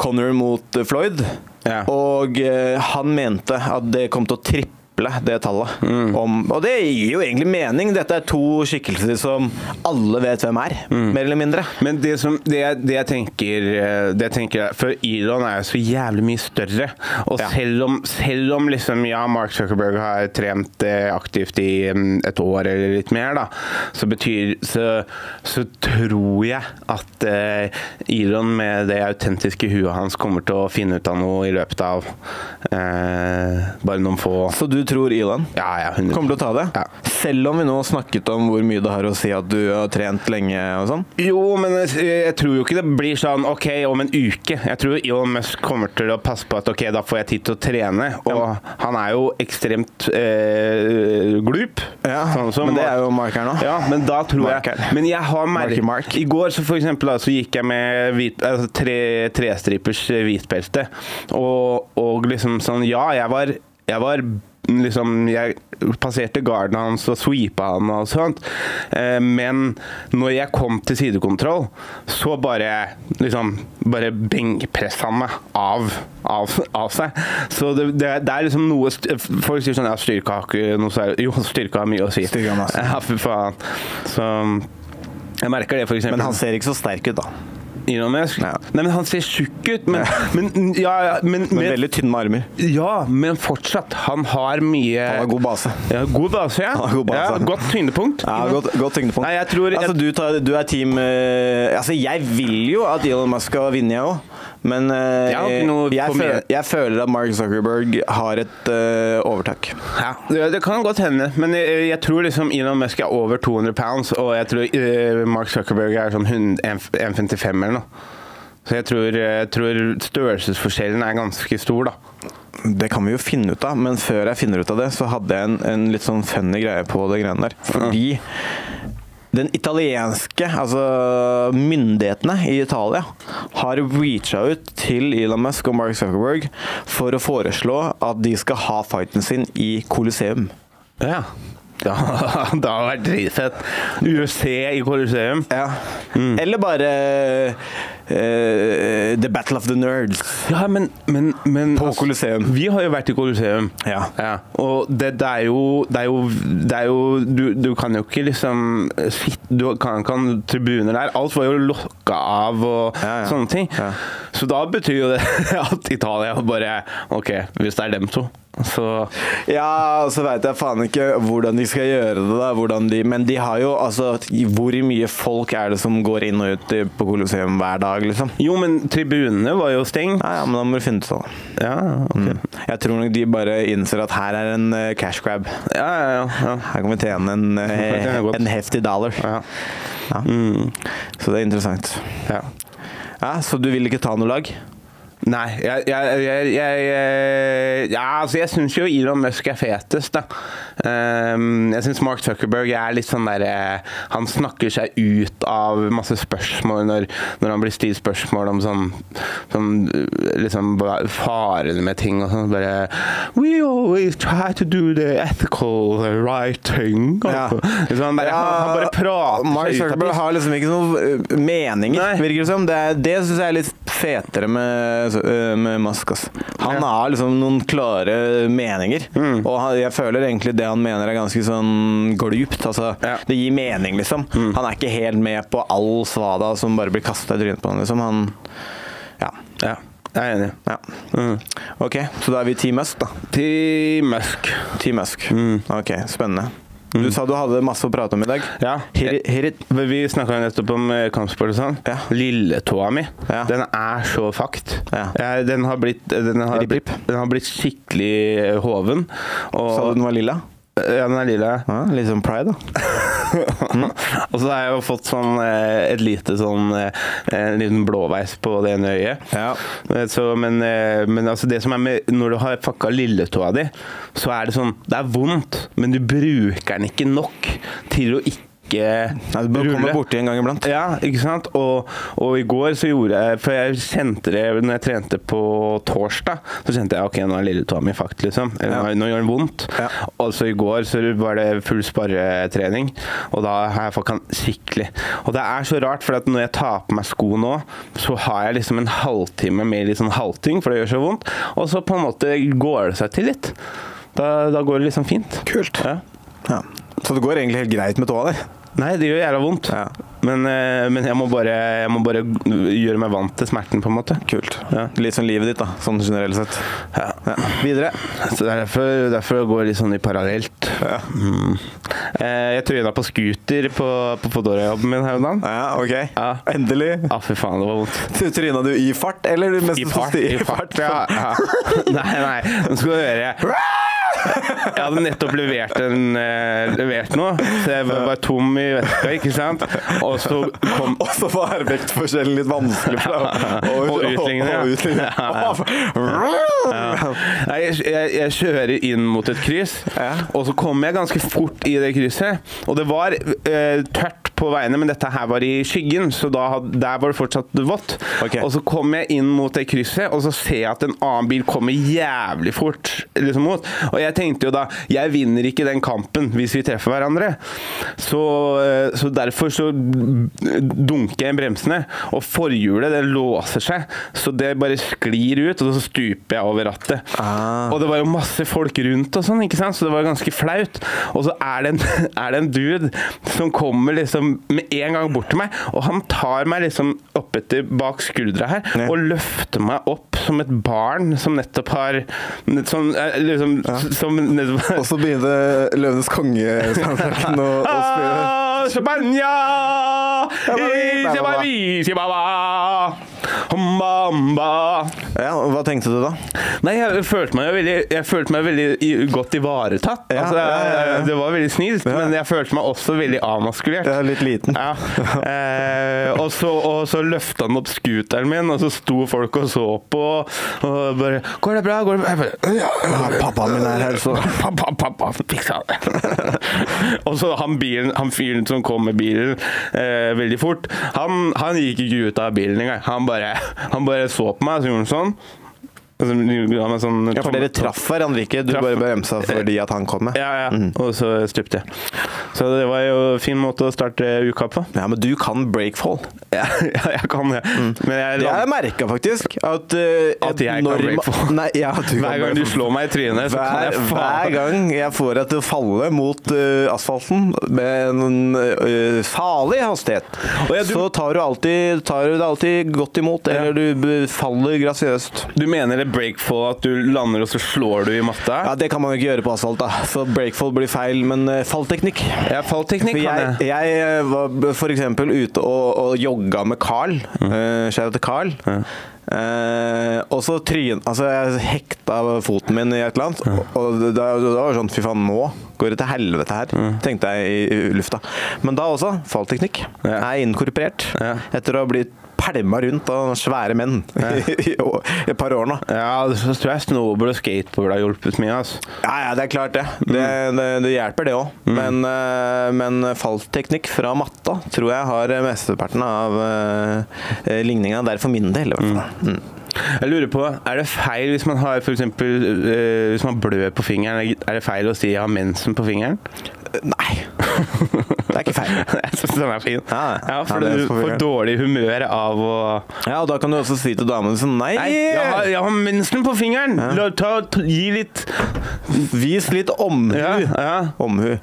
Connor mot eh, Floyd.
Ja.
Og eh, han mente at det kom til å triple det tallet. Om, og det gir jo egentlig mening. Dette er to skikkelser som alle vet hvem er, mer eller mindre.
Men det, som, det, jeg- det jeg tenker, eh, det jeg tenker er, For Elon er jo så jævlig mye større. Og
Ja.
selv om, selv om liksom, ja, Mark Zuckerberg har trent eh, aktivt i mm, et år eller litt mer, da, så, betyr, så, så tror jeg at eh, Elon med det autentiske huet hans kommer til å finne ut av noe i løpet av eh, bare noen få
Så du tror Elon?
Ja, ja, 100
Kommer til å ta det?
Ja.
Selv om vi nå snakket om hvor mye det har å si at du har trent lenge og sånn?
Jo, men jeg, jeg tror jo ikke det blir sånn OK, om en uke. Jeg tror Elon Musk kommer til å passe på at OK, da får jeg tid til å trene. Og han er jo ekstremt eh, glup. sånn som-
men det er jo markeren òg.
ja, men da tror
Marker.
jeg Men jeg har
Marky
merket
Mark.
I går så for eksempel da, så gikk jeg med hvit, altså, tre, trestripers eh, hvitbelte. Og, og liksom sånn Ja, jeg var, jeg var liksom Jeg passerte garden hans og sweepa han og sånt. Eh, men når jeg kom til sidekontroll, så bare liksom Bare benkpressa han meg av, av, av seg. Så det, det, det er liksom noe st- Folk sier sånn Ja, styrke har ikke noe særlig Jo, styrke har mye å si.
Styrke har masse.
Ja, fy faen. Så um, jeg merker det, for eksempel.
Men han ser ikke så sterk ut, da.
Elon Musk?
Ja.
Nei, men han ser tjukk ut, men, men ja, ja, men,
Men
men,
veldig tynn med armer.
ja, men fortsatt. Han har mye
Han har god base.
ja, god base, ja.
Han har god base.
ja. Godt tyngdepunkt.
Ja, godt, godt tyngdepunkt.
Nei, jeg tror-
altså, du, tar, du er team eh, Altså, jeg vil jo at Elon Musk skal vinne, jeg òg. Men eh,
Jeg har ikke noe
jeg,
på
føler,
meg.
jeg føler at Mark Zuckerberg har et eh, overtak.
Ja, det, det kan godt hende, men jeg, jeg tror liksom Elon Musk er over 200 pounds, og jeg tror eh, Mark Zuckerberg er sånn 100 155 eller noe. Så jeg tror, jeg tror størrelsesforskjellen er ganske stor, da.
Det kan vi jo finne ut av, men før jeg finner ut av det, så hadde jeg en, en litt sånn funny greie på det greiene der. Fordi den italienske, altså myndighetene i Italia, har reacha ut til Elon Musk og Mark Zuckerberg for å foreslå at de skal ha fighten sin i Coliseum.
Ja. Da, det har vært dritfett. UFC i Colosseum.
Ja. Eller bare eh, The Battle of the Nerds.
Ja, men, men, men altså,
På Colosseum.
Vi har jo vært i Colosseum.
Ja.
Og det, det er jo Det er jo, det er jo du, du kan jo ikke liksom sitte Du kan ikke ha tribuner der. Alt var jo lokka av og
Ja, ja.
sånne ting.
Ja.
Så da betyr jo det at Italia bare OK, hvis det er dem to, så
Ja, og så veit jeg faen ikke hvordan de skal gjøre det, da. Hvordan de, men de har jo altså Hvor mye folk er det som går inn og ut i- på Colosseum hver dag, liksom?
Jo, men tribunene var jo stengt.
Ja, ja, men da må du finne ut av det.
Ja, ok.
Mm. Jeg tror nok de bare innser at her er en eh, cash grab.
ja, ja. ja, ja.
Her kan vi tjene en,
Det kan
eh,
jeg godt.
en heftig dollar.
Ja.
Ja.
Mm.
Så det er interessant.
ja.
Ja, så du vil ikke ta noe lag?
Nei, jeg, jeg, jeg, jeg, jeg Ja, altså, jeg syns jo Elon Musk er fetest, da. Ehm, jeg syns Mark Zuckerberg er litt sånn derre Han snakker seg ut av masse spørsmål når, når han blir stilt spørsmål om sånn, sånn liksom hva- farene med ting og sånn. Bare We always try to do the ethical right thing.
Ja.
Liksom, han, bare, han, han bare prater
Mark
seg ut av
Zuckerberg
ting.
har liksom ikke noen eh, meninger,
Nei.
virker det som. Det, er- det syns jeg er litt fetere med, eh, med Musk. Ass. Han
Ja. Mm.
har liksom noen klare meninger, og han, jeg føler egentlig det han mener er ganske sånn glupt. Altså,
Ja. Mm.
Det gir mening, liksom. Han er ikke helt med på all svada som bare blir kasta i trynet på han, liksom. Han Ja.
Ja, jeg er enig.
ja.
Mm.
OK, så da er vi Team Musk, da.
Til Musk.
Team Musk.
Mm.
OK, spennende. Du sa du hadde masse å prate om i dag.
Ja.
Hit it, hit it.
Men Vi snakka nettopp om eh, kampsport og sånn.
Ja.
Lilletåa mi,
Ja.
den er så fucked.
Ja.
Jeg- Den, har blitt, eh, den, har
Ripp, ripp.
blitt, den har blitt skikkelig eh, hoven. Og,
Sa du den var lilla?
Eh, Ja, den er lilla.
Ja, litt sånn pride, da. Mm.
og så har jeg jo fått sånn eh, et lite sånn eh, En liten blåveis på det ene øyet.
Ja.
Eh, Så, men eh, men altså det som er med når du har fucka lilletåa di, så er det sånn Det er vondt, men du bruker den ikke nok til å ikke
Nei, du bør komme
rulle.
borti en gang iblant.
Ja, ikke sant? Og, og i går så gjorde jeg For jeg kjente det når jeg trente på torsdag, så kjente jeg ok, nå er lilletåa mi fucked, liksom. Eller,
Ja.
nå- Nå gjør den vondt.
Ja.
Og så i går så var det full sparretrening, og da har jeg fucka den skikkelig. Og det er så rart, for at når jeg tar på meg sko nå, så har jeg liksom en halvtime med litt sånn halting, for det gjør så vondt. Og så på en måte går det seg til litt. Da, da går det liksom fint.
Kult.
Ja.
Ja. Så det går egentlig helt greit med tåa di?
Nei, det gjør jævla vondt.
Ja.
Men, eh, men jeg, må bare, jeg må bare gjøre meg vant til smerten, på en måte.
Kult.
Ja.
Litt sånn livet ditt, da, sånn generelt sett.
Ja.
Ja. Videre.
Så det er derfor, derfor det går litt sånn i parallelt. Mm. Eh, jeg tryna på scooter på, på Fodora-jobben min her om dagen.
Ja, OK.
Ja.
Endelig.
Ah, fy faen, det var vondt.
Tryna du i fart, eller? mens
I
du
fart,
sti-
i fart, ja. ja. Nei, nei, nå skal du høre. Jeg hadde nettopp levert, en, eh, levert noe, så jeg var bare tom i veska, ikke sant? Og så kom
Og så var vektforskjellen litt vanskelig for deg å- å-
Og utligne, ja.
å- å utligne.
Ja. Ja. Nei, jeg, jeg, jeg kjører inn mot et kryss,
Ja.
og så kom jeg ganske fort i det krysset. Og det var eh, tørt på veiene, men dette her var i skyggen, så da, had- der var det fortsatt vått.
Ok.
Og så kom jeg inn mot det krysset, og så ser jeg at en annen bil kommer jævlig fort liksom mot. Og jeg tenkte jo da Jeg vinner ikke den kampen hvis vi treffer hverandre. Så, eh, så derfor så dunker jeg i bremsene, og forhjulet det låser seg, så det bare sklir ut, og så stuper jeg over rattet.
Ah.
Og det var jo masse folk rundt og sånn, ikke sant? så det var ganske flaut. Og så er det en, er det en dude som kommer liksom med en gang bort til meg, og han tar meg liksom oppetter bak skuldra her
Ja.
og løfter meg opp som et barn som nettopp har Som eh, liksom som nettopp,
Og så begynte Løvenes konge-soundtracken å, å spille.
Ah, Champagne!
Champagne!
Champagne! Champagne! Homba, homba.
Ja, hva tenkte du da?
Nei, jeg følte meg jo veldig, jeg følte meg veldig i- godt ivaretatt.
Ja,
altså,
ja, ja, ja.
Det var veldig snilt, men jeg følte meg også veldig amaskulert.
Jeg er litt liten.
Ja. Eh, og så, og så løfta han opp scooteren min, og så sto folk og så på. Og bare 'Går det bra?' Går det bra? Jeg bare, ja,
Ja, pappaen min er her, så-
Pappa, pappa, fiksa det. og så han, bilen, han fyren som kom med bilen eh, veldig fort, han, han gikk ikke ut av bilen engang. Han bare, han bare så på meg, så gjorde han sånn. Og så gjorde han en sånn
Ja, for dere traff hverandre ikke. Du
Traff-
bare bremsa fordi at han kom med.
Ja, ja. Og så stupte jeg. Så det var jo en fin måte å starte uka på.
Ja, men du kan breakfall.
Ja, jeg kan det. Mm. Men jeg,
Det har jeg merka faktisk. At, eh,
At jeg kan
når ma-
breakfall.
Nei, ja, at du kan
hver gang du
breakfall.
slår meg i trynet, så kan
hver,
jeg
hver
faen
gang jeg får deg til å falle mot eh, asfalten med en eh, farlig hastighet,
Og ja, du-
så tar du, alltid, tar du det alltid godt imot,
Ja.
eller du b- faller grasiøst.
Du mener det breakfall at du lander og så slår du i matta?
Ja, Det kan man jo ikke gjøre på asfalt, da. Så breakfall blir feil, men eh, fallteknikk
Ja, fallteknikk
For
kan
jeg,
jeg.
jeg eh, var b- for eksempel ute og, og jogga med Carl.
Mm.
eh, Shout out til Carl. Eh, og så tryn... Altså, jeg hekta foten min i et eller annet. og- Og da, da var det sånn Fy faen, nå går det til helvete her,
Mm.
tenkte jeg i, i lufta. Men da også fallteknikk.
Ja.
Er inkorporert.
Ja.
Etter å ha blitt pælma rundt av svære menn i, å- et par år nå.
Ja, så tror jeg snowboard og skateboard har hjulpet mye. Altså.
Ja, ja, det er klart det. Det, det, det hjelper, det òg. Men, eh, men fallteknikk fra matta tror jeg har mesteparten av eh, ligninga der for min del, i hvert fall. Mm.
Jeg lurer på, Er det feil hvis man har for eksempel, eh, hvis man blør på fingeren? Er det feil å si 'jeg har mensen på fingeren'?
Nei. Det er ikke feil.
Jeg syns den er fin.
Ja, ja.
Ja,
Ja,
for du
mensen på
får
fingeren.
dårlig humør av å
Ja, og da kan du også si til damene sånn Nei,
Nei, jeg har, jeg har mensen på fingeren! La, ta, ta, gi litt
eh, vis litt omhu.
Ja, ja.
Omhu.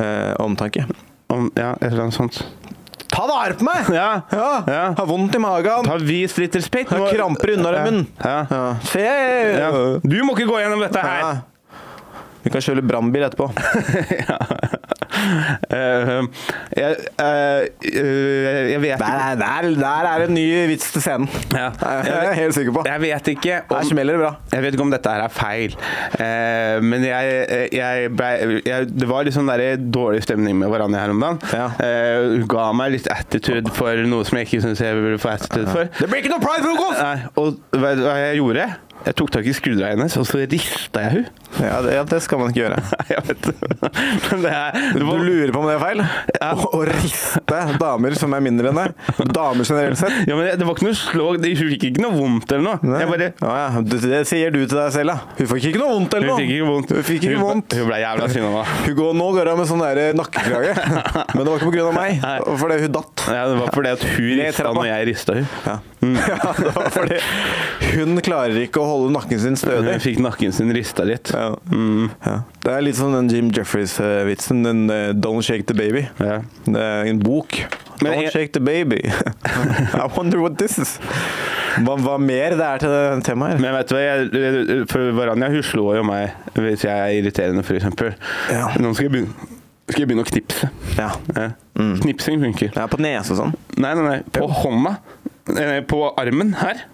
Eh, omtanke.
Om, ja et eller annet sånt.
Ta vare på meg!
Ja.
Ja.
Ja.
Har vondt i magen.
Ta Vis litt respekt.
Har
Nå-
kramper i underarmen.
Ja. Ja.
Ja. Se!
Ja. Du må ikke gå gjennom dette her!
Ja. Vi kan kjøre brannbil etterpå.
Eh, jeg, eh, eh, jeg vet ikke
Der, der, der er en ny vits til scenen.
Ja.
Det er jeg helt sikker på.
Jeg vet ikke
Her
om,
smeller det bra.
jeg vet ikke om dette her er feil, Eh, men jeg, jeg, ble, jeg Det var litt sånn der dårlig stemning med hverandre her om dagen.
Ja.
Eh, hun ga meg litt attitude for noe som jeg ikke syns jeg burde få attitude for.
Det blir ikke noe pride-frokost!
Nei, og hva, hva jeg gjorde? Jeg tok tak i skuldra hennes, og så rista jeg hun
Ja, det- ja, det skal man ikke gjøre.
Nei, jeg vet det. Men det er det
Du
var-
lurer på om det er feil?
Ja.
Å å riste damer som er mindre enn deg? Damer generelt sett?
ja, men det, det var ikke noe slag, det- hun fikk ikke noe vondt eller noe.
Nei.
Jeg bare
ja, ja. Det, det sier du til deg selv, da. Hun fikk ikke noe vondt, eller
Hun
noe?
fikk ikke vondt.
Hun fikk ikke vondt.
Hun ble jævla sinna da.
Hun går, nå går hun med sånn der nakkekrage. Men det var ikke på grunn av meg,
Nei.
og fordi hun datt.
Ja, det var fordi at hun
Ned
rista
trappa.
når jeg rista hun.
Ja. ja, det var fordi hun klarer ikke å holde nakken sin stødig.
Hun fikk nakken sin rista litt.
Ja. Mm. Ja. Det er litt sånn den Jim Jeffries-vitsen. Den eh, 'Don't Shake the Baby'.
Ja.
Det er en bok.
Men
Don't
jeg-
shake the baby. I wonder what this is. Hva, hva mer det er til det temaet her?
Men vet du hva, jeg, for Varanja hun slår jo meg hvis jeg er irriterende, f.eks.
Ja.
Nå skal jeg, begynne, skal jeg begynne å knipse.
Ja.
Ja. Knipsing funker.
Mm. ja, på nese og sånn.
Nei, nei, nei. På hånda. Eh, På armen her.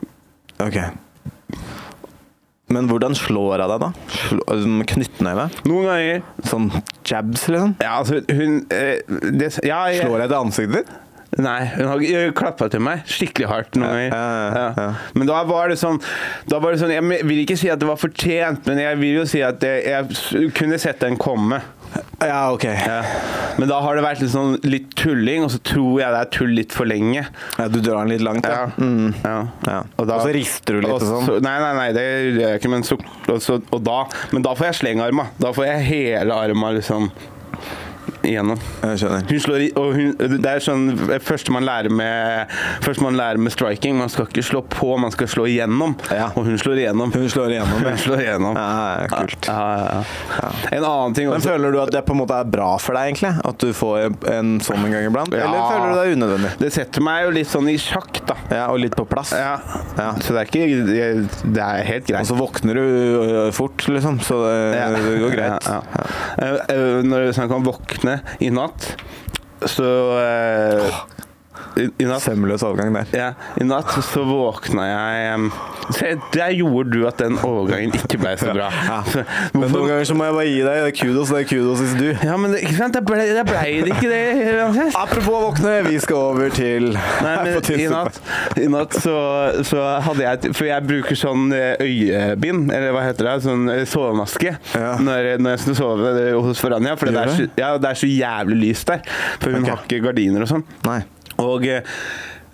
Ok. Men hvordan slår jeg deg, da? Slå, altså, med knyttneve?
Noen ganger
Sånn jabs, liksom?
Ja, altså, hun eh, det, ja, jeg,
Slår jeg til ansiktet ditt?
Nei, hun har klappa til meg skikkelig hardt noen ganger.
ja, ja, ja.
Men da var det sånn Da var det sånn Jeg me- vil ikke si at det var fortjent, men jeg vil jo si at jeg, jeg s- kunne sett den komme.
Ja, ok.
Ja. Men da har det vært litt sånn litt tulling, og så tror jeg det er tull litt for lenge.
Ja, du drar den litt langt, ja. Mm.
Ja.
ja. Og, så rister du litt
og
og sånn.
så- Nei, nei, nei, det gjør jeg ikke, men, så, og så, og da, men da får jeg slengarma. Da får jeg hele arma liksom igjennom.
Jeg skjønner.
Hun slår i, og hun, det er sånn Første man lærer med Første man lærer med striking Man skal ikke slå på, man skal slå igjennom
Ja.
Og hun slår igjennom
Hun slår igjennom.
Hun slår igjennom
Ja, ja, kult.
ja, ja, ja. En annen ting
Men
også
føler du at det på en måte er bra for deg, egentlig? At du får en sånn en gang iblant?
Ja.
Eller føler du deg unødvendig?
Det setter meg jo litt sånn i sjakk da
Ja, og litt på plass.
ja. Altså,
Ja.
Så det er ikke jeg- Det er helt
Og
greit
så våkner du ø, fort, liksom, så det,
Ja.
det går greit.
ja, ja. Eh, eh, Når du snakker om våkne i natt Så eh, i, i natt
Sømløs overgang der.
ja, I natt så våkna jeg em, se, Der gjorde du at den overgangen ikke ble så bra. Så,
Men noen
hvorfor,
ganger så må jeg bare gi deg kudos. Det er kudos hvis du
ja, men det, ikke sant? Da ble, da ble det ikke det uansett.
Apropos våkne, vi skal over til
Nei,
På
men i
tidssofa.
natt, i natt så, så hadde jeg For jeg bruker sånn eh, øyebind, eller hva heter det? Sånn eh, sovemaske
Ja.
når, når jeg skal sove eh, hos Foranja. For det
Gjør
er, så,
det?
ja, det er så jævlig lyst der. For hun
Ok.
har ikke gardiner og sånn.
Nei.
Og eh,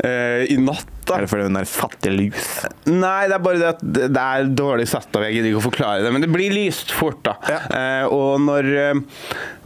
eh, i natt da
Er det fordi hun er fattig lus?
Nei, det er bare det at det det er dårlig satt av. Jeg gidder ikke å forklare det, men det blir lyst fort, da.
Ja.
Eh, og, når, eh,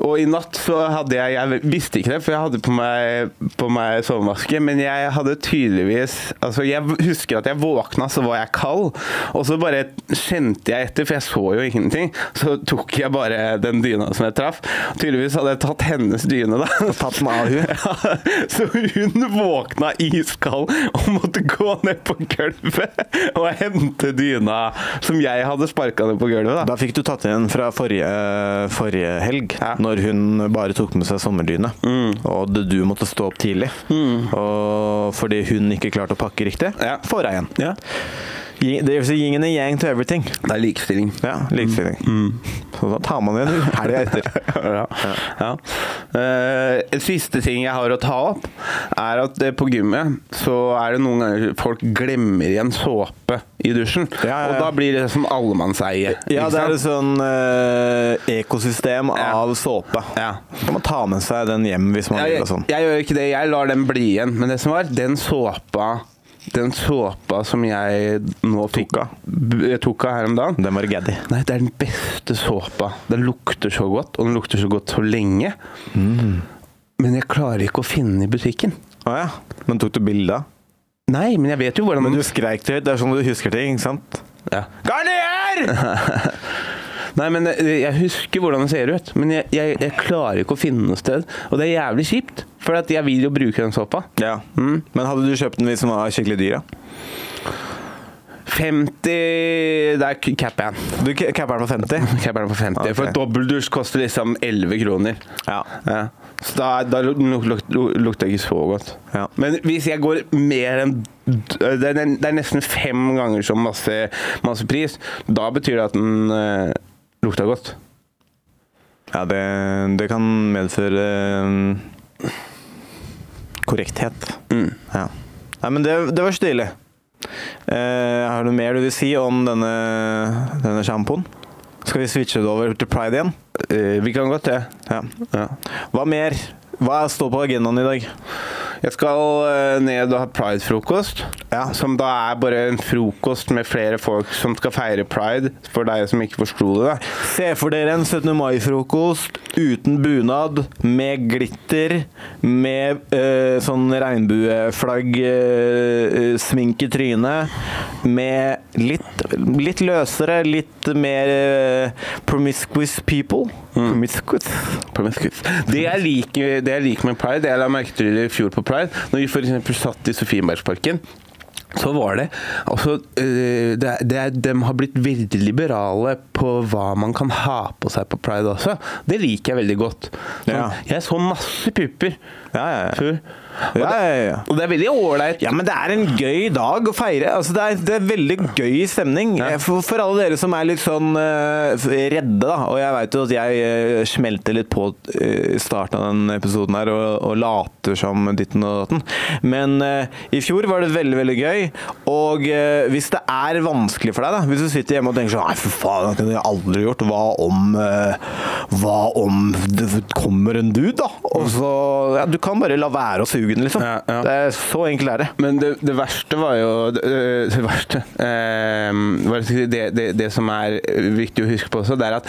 og i natt så hadde jeg Jeg visste ikke det, for jeg hadde på meg, på meg sovemaske, men jeg hadde tydeligvis Altså, jeg husker at jeg våkna, så var jeg kald, og så bare kjente jeg etter, for jeg så jo ingenting. Så tok jeg bare den dyna som jeg traff. Tydeligvis hadde jeg tatt hennes dyne, da.
Tatt den av hun?
Ja, så hun våkna iskald og måtte gå ned på gulvet og hente dyna som jeg hadde sparka ned på gulvet. da.
Da fikk du tatt igjen fra forrige, forrige helg,
Ja. Mm.
når hun bare tok med seg sommerdyne. Og det- du måtte stå opp tidlig. Og fordi hun ikke klarte å pakke riktig,
Ja.
får jeg en.
Ja.
Yin- Det vil si yin and a yang to everything.
Det er likestilling.
Ja, likestilling.
Mm.
Så da tar man igjen helga etter.
Ja. Ja. Eh, en siste ting jeg har å ta opp, er at eh, på gymmet så er det noen ganger folk glemmer igjen såpe i dusjen.
Ja, ja,
Og
ja.
da blir det som allemannseie.
Ja,
ikke
det er et
sant?
sånn eh, ekosystem
Ja.
av såpe.
Ja.
Kan man ta med seg den hjem hvis man vil
jeg,
og sånn.
jeg gjør ikke det. Jeg lar den bli igjen. Men det som var, den såpa Den såpa som jeg nå fikk
Tok av.
B- jeg tok av her om dagen
Den var gaddy.
Nei, det er den beste såpa. Den lukter så godt, og den lukter så godt så lenge.
Mm.
Men jeg klarer ikke å finne den i butikken.
Å ja. Men tok du bilde av?
Mm. Nei, men jeg vet jo hvordan
Men
den
du skreik til høyt. Det er sånn du husker ting, ikke sant?
ja. Nei, men eh, jeg husker hvordan den ser ut, men jeg, jeg, jeg klarer ikke å finne noe sted. Og det er jævlig kjipt, for at jeg vil jo bruke den såpa.
Ja. Men hadde du kjøpt den hvis den var skikkelig dyr, da?
50 Der capper jeg den.
Du ca- capper den på 50?
Capper den på 50.
Ok.
For dobbeltdusj koster liksom 11 kroner.
Ja.
Ja. Så da, da luk- luk- luk- lukter det ikke så godt.
Ja.
Men hvis jeg går mer enn eh, det er, det er nesten fem ganger så masse, masse pris. Da betyr det at den eh, lukter godt.
ja det, det kan medføre mm, korrekthet.
Mm.
Ja. Nei, men det, det var stilig. Eh, har du noe mer du vil si om denne, denne sjampoen? Skal vi switche det over til pride igjen?
Eh, vi kan godt det.
Ja.
Ja.
Hva mer? Hva står på agendaen i dag?
Jeg skal eh, ned og ha pridefrokost.
Ja.
Som da er bare en frokost med flere folk som skal feire pride, for deg som ikke forsto det. da.
Se for dere en 17. mai-frokost uten bunad, med glitter, med eh, sånn regnbueflagg, eh, eh, smink i trynet, med litt, litt løsere, litt mer eh, promiscuous people. Promiscuous?
Promiscuous. Det jeg liker det jeg liker med pride, det jeg la merke til i fjor på pride, når vi f.eks. satt i Sofienbergsparken så var det altså, eh, det, er- det, er- De har blitt veldig liberale på hva man kan ha på seg på pride også. Det liker jeg veldig godt. Sånn,
Ja.
Jeg så masse pupper
Ja, ja, ja.
før. Og,
Ja, ja, ja.
det, og det er veldig ålreit.
Ja, men det er en gøy dag å feire. Altså, det, er, det er veldig gøy stemning. Eh,
Ja.
For, for alle dere som er litt sånn eh, redde, da. Og jeg veit jo at jeg eh, smelter litt på eh, i starten av den episoden her og, og later som ditten og datten. Men eh, i fjor var det veldig, veldig gøy. Og eh, hvis det er vanskelig for deg, da. Hvis du sitter hjemme og tenker sånn Nei, for faen, det kunne jeg aldri gjort. Hva om eh, Hva om det kommer en dude, da? Og så ja, Du kan bare la være å suge den, liksom.
Ja, ja.
Det er så enkelt er det.
Men det, det verste var jo Det, det verste eh, hva skal jeg si, det, det, det som er viktig å huske på også, det er at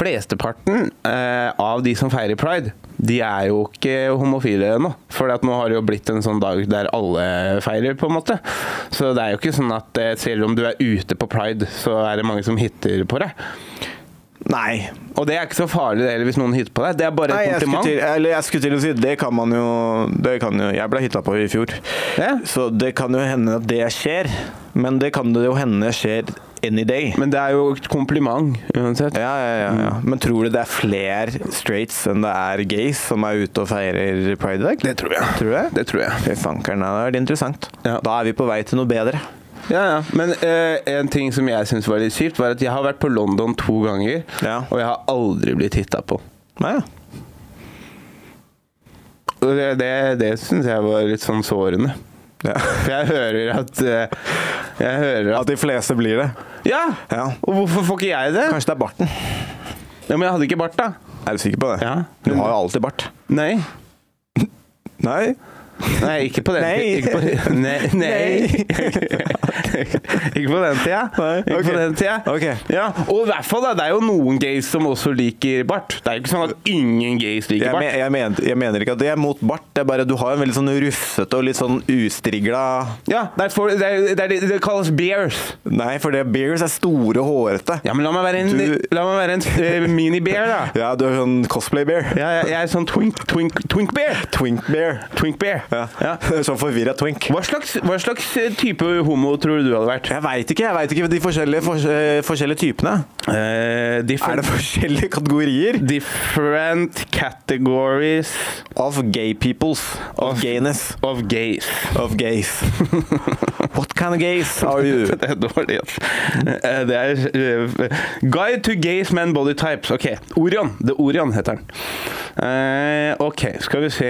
flesteparten eh, av de som feirer pride, de er jo ikke homofile ennå. For at nå har det jo blitt en sånn dag der alle feirer, på en måte. Så det er jo ikke sånn at eh, selv om du er ute på pride, så er det mange som hitter på deg.
Nei.
Og det er ikke så farlig det heller hvis noen hitter på deg. Det er bare
Nei
et
jeg, skulle
kompliment.
til, eller jeg skulle til å si det kan man jo, det kan jo Jeg ble hytta på i fjor.
Ja.
Så det kan jo hende at det skjer. Men det kan det jo hende skjer any day.
Men Mm. det er jo et kompliment uansett.
Ja, ja, ja, ja. Men tror du det er flere straights enn det er gays som er ute og feirer pride i dag?
Det tror jeg.
Tror du det?
Det tror jeg.
Fy fankeren, det er interessant.
Ja.
Da er vi på vei til noe bedre.
Ja, ja. Men eh, en ting som jeg syns var litt kjipt, var at jeg har vært på London to ganger,
Ja.
og jeg har aldri blitt titta på.
Ja, ja.
Og Det, det, det syns jeg var litt sånn sårende.
Ja.
For jeg hører at eh, Jeg hører
At
at
de fleste blir det.
Ja!
Ja.
Og hvorfor får ikke jeg det?
Kanskje det er barten.
Ja, Men jeg hadde ikke bart, da.
Er du sikker på det?
Ja.
Du har jo alltid bart.
Nei.
Nei.
Nei, ikke på den
Nei.
Ikke på, nei, nei. ikke på den tida.
Nei,
Ikke
ok.
på den tida.
Ok.
Ja, og i hvert fall, da, det er jo noen gays som også liker bart. Det er jo ikke sånn at ingen gays liker
Jeg,
bart.
men, jeg, men, jeg mener ikke at det er mot bart. Det er bare Du har jo en veldig sånn rufsete og litt sånn ustrigla
Ja, det, er for, det, er, det, er, det kalles bears.
Nei, for det bears er store, hårete.
Ja, men la meg være en,
Du-
la meg være en eh, mini-bear, da.
Ja, du er sånn cosplay-bear.
Ja, jeg, jeg er sånn twink, twink, twink bear.
Twink-bear.
Twink bear.
Ja.
Ja.
Sånn forvirra twink.
Hva, slags, hva slags eh, type homo tror du du hadde vært?
Jeg veit ikke. jeg vet ikke de forskjellige, fors- eh, forskjellige typene.
Eh,
Er
different,
det forskjellige kategorier
different categories
of gay peoples? Of
Of-
gayness?
of gays.
Of gays. What kind of gays are you?
Det er dårlig, altså. Eh, Det er eh, Guide to gays men body types. Ok. Orion. The Orion heter den. Eh, ok, skal vi se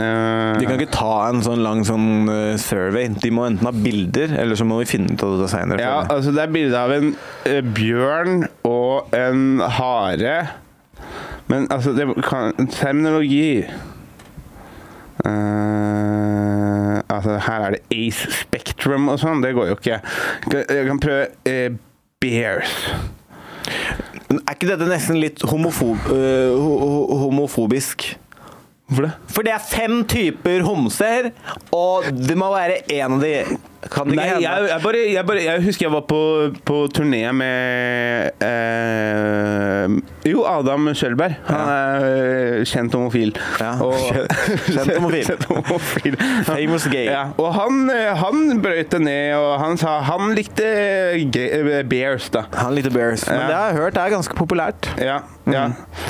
Eh,
De kan ikke ta en sånn lang sånn eh, survey. De må enten ha bilder, eller så må vi finne ut av det seinere.
Ja, altså det er bilde av en eh, bjørn og en hare. Men altså det kan, Terminologi Eh, Altså her er det Ace Spectrum og sånn. Det går jo ikke. Kan- Jeg kan prøve eh, Bears.
Men er ikke dette nesten litt homofob, eh, ho ho homofobisk?
Hvorfor det?
For det er fem typer homser, og det må være én av de. Kan det
Nei,
ikke hende?
jeg, jeg, bare, jeg, bare, jeg husker jeg var på, på turné med eh, Jo, Adam Schjølberg. Han er eh, kjent homofil.
Ja, kjent homofil.
Kjent homofil.
Famous gay.
Ja, og han, eh, han brøyt det ned, og han sa han likte gay, eh, bears, da.
Han likte Bears, men
Ja.
det har jeg hørt er ganske populært.
Ja,
Mm.
ja.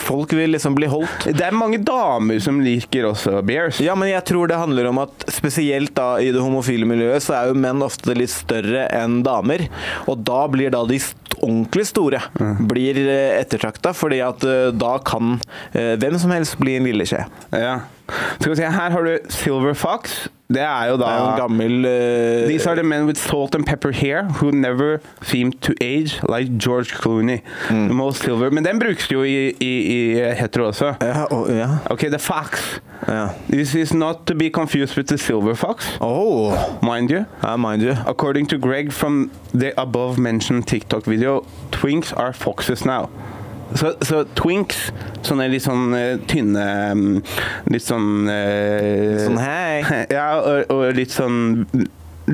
Folk vil liksom bli holdt.
Det er mange damer som liker også bears.
Ja, men jeg tror det handler om at spesielt da i det homofile miljøet, så er jo menn ofte litt større enn damer. Og da blir da de st ordentlig store blir ettertrakta, fordi at eh, da kan eh, hvem som helst bli en lilleskje.
Ja. Skal vi se, her har du Silver Fox. Det er jo da
Det er jo en gammel eh,
These are the men with salt and pepper hair who never seem to age like George Clooney.
Mm.
The most silver. Men den brukes jo i, i, i hetero også.
ja, og- ja,
Ok, the fox.
ja.
This is not to be confused with the silver fox,
Oh,
mind you.
ja, mind you.
According to Greg from the above mentioned TikTok video, twinks are foxes now. Så, så twinks, sånne litt sånn eh, tynne mm, Litt sånn eh,
Sånn hei.
Ja, og, og litt sånn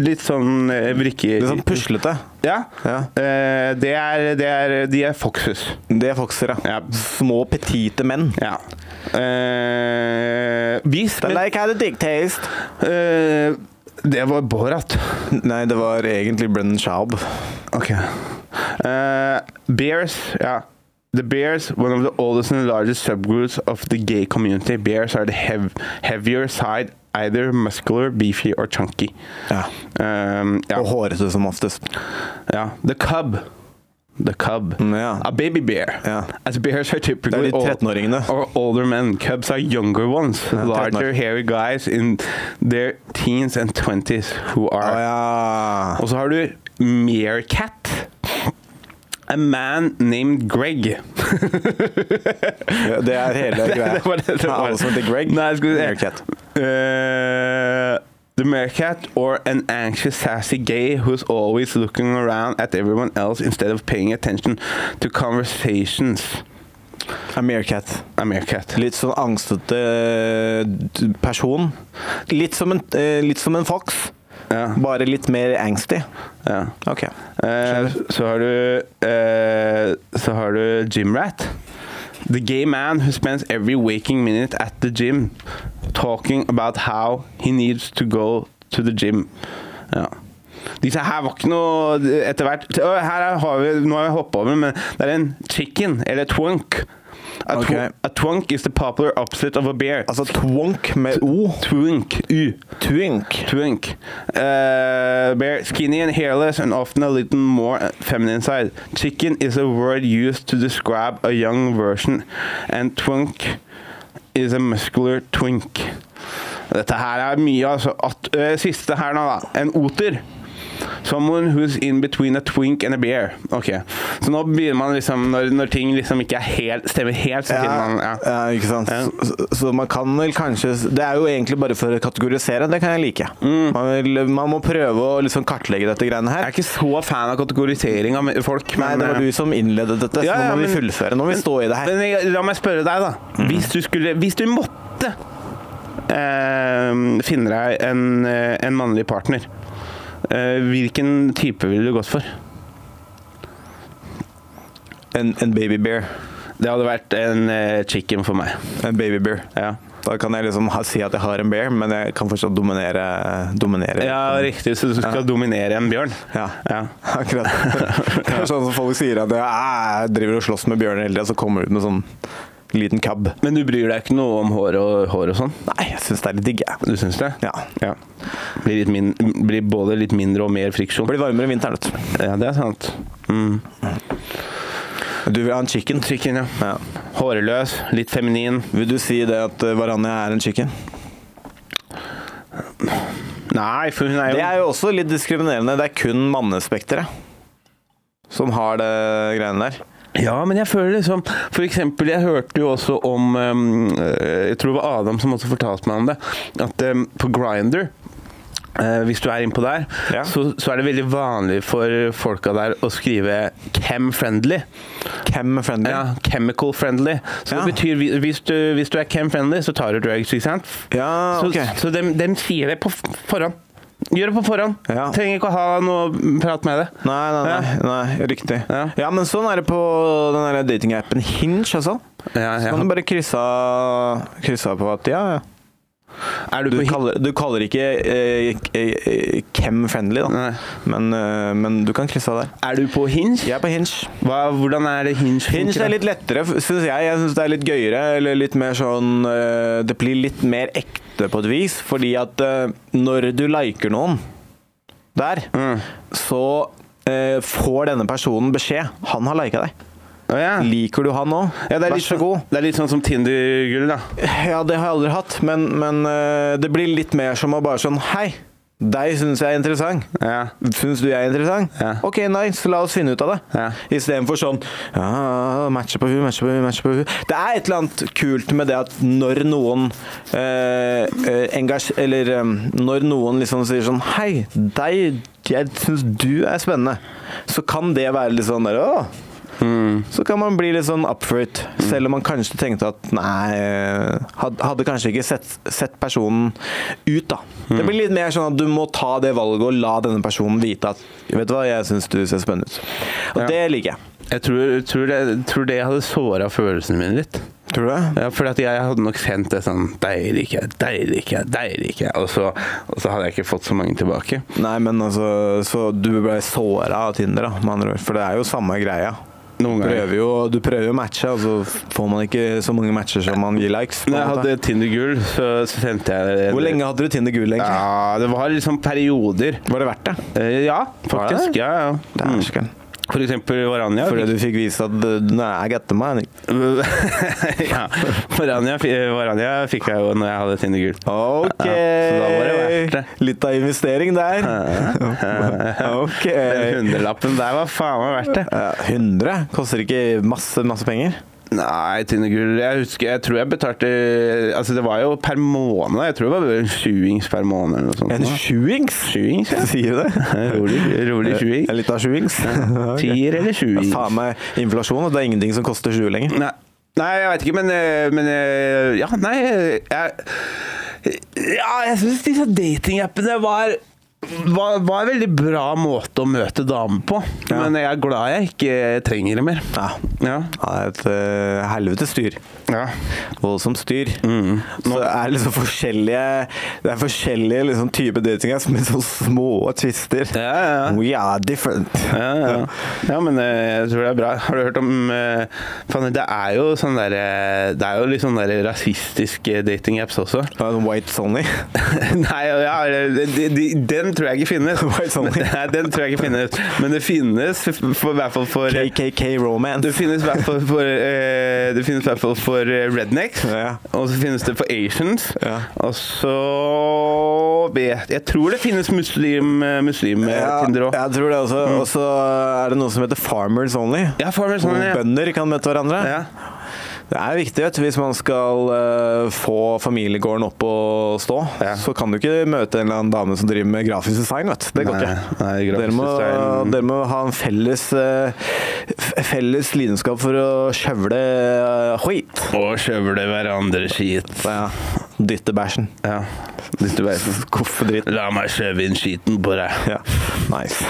Litt sånn eh, vrikke...
Litt sånn puslete.
Ja.
Ja.
Eh, det, er, det er De er foxes.
Det er foxer, ja.
Ja.
Små, petite menn.
Ja. Eh, vis
They
men,
like how the dick taste.
eh, Det var Borat.
Nei, det var egentlig Brennan Schaub.
Ok. Eh, bears, ja. The Bears, one of the oldest and largest subgroups of the gay community. Bears are the heav heavier side, either muscular, beefy or chunky.
Ja.
Um, ja.
Og hårete som oftest.
ja. The cub. The cub.
Mm, ja.
A baby bear.
Ja.
As bears are typically
Det er de
old-
13-åringene.
or older men. Cubs are younger ones, larger,
13-åringer.
hairy guys in their teens and 20s who are
Å Ah, ja.
Og så har du Meerkat. A man named Greg.
Det er hele greia.
det var det det var.
Alle som heter Greg.
Nei, skal vi se.
Meerkat.
Eh, the meerkat or an anxious, sassy gay who's always looking around at everyone else instead of paying attention to conversations.
A meerkat.
A meerkat.
Litt sånn angstete eh, person. Litt som en, eh, litt som en fox,
Ja,
bare litt mer angsty.
ja.
Ok.
Eh, så har du eh, Så har du Gymrat. The gay man who spends every waking minute at the gym talking about how he needs to go to the gym. Ja. Disse her var ikke noe etter hvert Å, Her er- har vi, Nå har vi hoppet over, men det er en chicken, eller twonk. A,
Ok.
tw a twonk is the popular opposite of a bear.
Altså twonk med O.
Twonk. U.
Twink.
Twink. Uh, bear, skinny and hairless and often a little more feminine side. Chicken is a word used to describe a young version, and twink is a muscular twink. Dette her er mye, altså. At, øh, siste her nå, da. En oter. Someone who's in between a twink and a bear. Ok, Så nå begynner man liksom Når, når ting liksom ikke er helt, stemmer helt, så finner man
Ja, ja, ikke sant.
Ja.
Så, så man kan vel kanskje Det er jo egentlig bare for å kategorisere, det kan jeg like. Man, vil, man må prøve å liksom kartlegge dette greiene
Jeg er
her.
Mm. ikke så fan av kategorisering av folk.
Nei, det var du som innledet dette, så
Ja, ja,
nå må vi
men-
fullføre. Nå må vi stå i det her.
Men jeg, la meg spørre deg, da. Hvis du skulle Hvis du måtte eh, finne deg en, eh, en mannlig partner, eh, hvilken type ville du gått for?
En, en baby bear.
Det hadde vært en eh, chicken for meg.
En baby bear.
Ja.
Da kan jeg liksom ha, si at jeg har en bear, men jeg kan fortsatt dominere. dominere.
ja, riktig. Så du skal dominere en bjørn?
Ja.
Ja.
Akkurat. Det er sånn som folk sier at jeg driver og slåss med bjørner hele tida, så kommer du ut med sånn liten cab.
Men du bryr deg ikke noe om hår og, hår og sånn?
Nei, jeg syns det er litt digg, jeg.
Du syns det?
Ja.
ja. Blir, litt min, blir både litt mindre og mer friksjon?
Blir varmere i vinteren, vet du.
Ja, det er sant. Mm.
Du vil ha en chicken?
Chicken, ja.
Ja.
Hårløs, litt feminin.
Vil du si det at eh, Varane er en chicken?
Nei, for hun er jo
Det er jo også litt diskriminerende. Det er kun mannespekteret som har det greiene der.
Ja, men jeg føler liksom For eksempel, jeg hørte jo også om um, eh, Jeg tror det var Adam som også fortalte meg om det. At um, på Grinder hvis du er innpå der,
Ja.
så, så er det veldig vanlig for folka der å skrive 'cam friendly'.
Cam friendly.
Ja, 'Chemical friendly'. Så
Ja.
det betyr hvi- hvis du, hvis du er cam friendly, så tar du drugs, ikke sant?
Ja,
så
Ah, ok.
så dem, dem sier det på f- forhånd. Gjør det på forhånd.
Ja.
Trenger ikke å ha noe prat med det.
Nei, nei, nei, nei, riktig. Ja.
Ja.
men sånn er det på den der datingappen Hinge og sånn.
Ja,
Så
ja.
kan du bare krysse av krysse av på at ja, ja.
Er du,
Du
på hi-
kaller, du kaller ikke eh, eh, cam friendly, da.
Nei.
Men, eh, men du kan krysse av der.
er du på hinge?
Jeg er på Hinge.
Hva, hvordan er det hinge funker?
Hinge
da?
er litt lettere, syns jeg. Jeg synes Det er litt gøyere. eller litt mer sånn, øh, Det blir litt mer ekte på et vis, fordi at øh, når du liker noen der,
Mm.
så øh, får denne personen beskjed. Han har lika deg.
Å, ja.
Liker du han nå?
Ja, det er
Vær
litt
så
sånn-
god.
Det er litt sånn som Tinder-gull, da.
Ja, det har jeg aldri hatt, men, men øh, det blir litt mer som å bare sånn Hei, deg syns jeg er interessant.
Ja.
Syns du jeg er interessant?
Ja.
Ok, nice, la oss finne ut av det.
Ja.
Istedenfor sånn ja, matche på hun, matche på hun, matche på hun. Det er et eller annet kult med det at når noen eh, eh, engasj... Eller eh, når noen liksom sier sånn Hei, deg, jeg syns du er spennende. Så kan det være litt sånn der Å! Så kan man bli litt sånn up for it, selv om man kanskje tenkte at nei eh, had- Hadde kanskje ikke sett, sett personen ut, da. Det blir litt mer sånn at du må ta det valget og la denne personen vite at Vet du hva, jeg syns du ser spennende ut. Og
Ja.
det liker jeg.
Jeg tror, tror, det, tror det hadde såra følelsene mine litt.
Tror du det?
Ja, for at jeg hadde nok sendt det sånn Deilig ikke, deilig ikke, deilig ikke. Og så, og så hadde jeg ikke fått så mange tilbake.
Nei, men altså Så du ble såra av Tinder, da, med andre ord. For det er jo samme greia. Du
Noen ganger.
prøver jo, du prøver jo å matche, og så får man ikke så mange matcher som man gir likes. på en
Når jeg
måte.
hadde Tinder-gull, så, så sendte jeg
Hvor lenge hadde du Tinder gull, egentlig?
Ja, det var liksom perioder.
Var det verdt det?
Eh, Ja,
Var det
faktisk.
det?
Ja, ja. Mm.
Dæsken.
For eksempel Varanja.
Fordi du fikk vise at uh, Nei, jeg getter meg.
ja. Varanja, fi- Varanja fikk jeg jo når jeg hadde Tinder-gull.
Ok!
Ja, så da var det verdt det.
Litt av investering der. ok.
Den hundrelappen der var faen meg verdt det.
Ja, 100? Koster ikke masse, masse penger?
Nei, Tine Gull, jeg husker Jeg tror jeg betalte Altså, det var jo per måned. Jeg tror det var en sjuings per måned eller noe sånt.
En sjuings?
sjuings? Ja.
Sier du det?
Rolig, rolig sjuing.
Litt av sjuings? Ok.
Tier eller
Ja,
sjuing?
Faen meg inflasjon, og det er ingenting som koster sju lenger.
Nei. Nei, jeg veit ikke, men, eh, men eh, Ja, nei jeg, Ja, jeg syns disse datingappene var var, var en veldig bra måte å møte damer på. Men jeg er glad jeg ikke trenger det mer.
Ja.
Ja.
Ja, det er et eh, helvetes styr.
ja.
Voldsomt styr.
Mm.
Så det er liksom forskjellige Det er forskjellige liksom typer dating apps med sånne små twister.
Ja, ja, ja.
We are different.
Ja, ja. ja, men eh, jeg tror det er bra. Har du hørt om eh, faen, Det er jo sånn der, eh, Det er jo litt sånn der rasistiske datingapps også.
Det er en White Sony.
Nei, ja, eller, de, de, den tror jeg ikke finnes.
White Sony.
Nei, den tror jeg ikke finnes. Men det finnes, for, i hvert fall for
KKK Romance.
Det finnes i hvert fall for, eh, det finnes i hvert fall for eh, rednecks,
Ja.
og så finnes det for Asians.
Ja.
Og så vet Jeg tror det finnes muslim, eh, muslim eh,
Ja,
Tinder òg.
jeg tror det også. Og så er det noe som heter Farmers Only.
Ja, farmers
Hvor
only, ja.
bønder kan møte hverandre.
Ja.
Det er viktig vet, du, hvis man skal eh, få familiegården opp og stå.
Ja.
Så kan du ikke møte en eller annen dame som driver med grafisk design. Vet. du. Det går
Nei,
ikke.
nei, grafisk
dere, må,
design-
dere må ha en felles, eh, f- felles lidenskap for å skjøvle eh, skit.
Og skjøvle hverandre skit.
Ja. Dytte bæsjen.
Ja. Hvis du vet.
Skuffe dritt.
La meg skjøve inn skiten på deg.
Ja. Nice.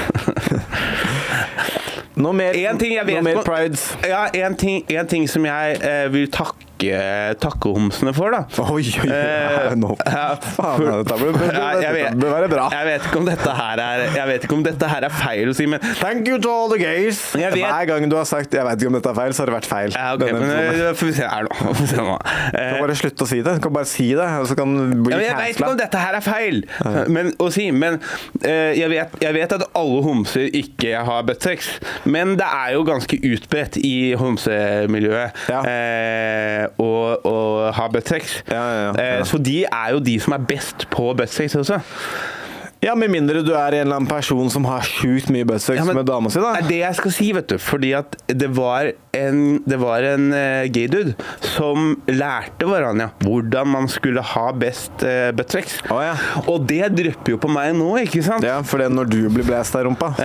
Noe mer,
En ting jeg vet
noe mer
på-
prides.
Ja, en ting, en ting som jeg eh, vil takke takkehomsene for, da.
Oi, oi,
Eh,
oi. Nå.
ja,
Faen,
for-
dette bør, bør,
Nei, jeg vet-
dette bør være bra.
Jeg vet ikke om dette her er, jeg vet ikke om dette her er feil å si, men
Thank you to all the gays.
Jeg vet-
Hver gang du har sagt 'jeg vet ikke om dette er feil', så har det vært feil.
Ja, ok,
Denne
men
episoden.
eh, får vi se her nå. Får vi se
Du
nå. Eh,
kan bare slutte å si det. Du kan bare si det, og så kan det bli
ja, men jeg vet ikke om
cancela.
dette her er feil men, å si, men eh, jeg, vet, jeg vet at alle homser ikke har buttsex, men det er jo ganske utbredt i homsemiljøet
Ja.
eh, å, å ha buttsex.
Ja, ja, ja.
Eh, så de er jo de som er best på buttsex også.
Ja, Med mindre du er en eller annen person som har sjukt mye buttsex
Ja, men-
med dama si, da.
Det er det jeg skal si, vet du. Fordi at det var en, det var en eh, gay dude som lærte Varanja hvordan man skulle ha best uh, buttsex.
Å, ja.
Og det drypper jo på meg nå, ikke sant?
Ja, for det er når du blir blæst av rumpa, så,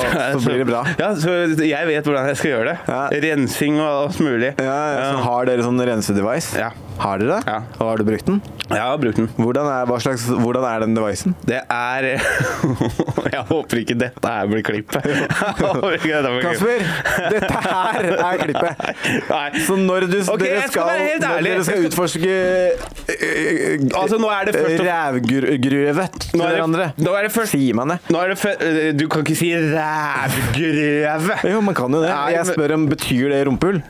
så blir det bra.
Ja, så jeg vet hvordan jeg skal gjøre det.
Ja.
Rensing og alt mulig.
Ja, ja, så Har dere sånn rensedevice?
Ja.
Har dere det?
Ja.
Og har du brukt den?
Jeg har brukt den.
Hvordan er, hva slags, hvordan er den devicen?
Det er Jeg håper ikke dette her blir klippet. Jeg håper ikke dette blir klippet.
Kasper, dette her er klippet.
Nei.
Så når du,
Ok,
dere,
jeg skal
skal,
være helt
når
ærlig.
dere skal
Jeg
utforske eh, eh,
Altså, nå er det først og-
rævgruve til
Nå er det-
hverandre
nå er det først-
Sier man det?
Nå er det fø- eh, Du kan ikke si rævgrøve.
Jo, man kan jo det.
Nei,
Jeg
men-
spør om betyr det rumpehull.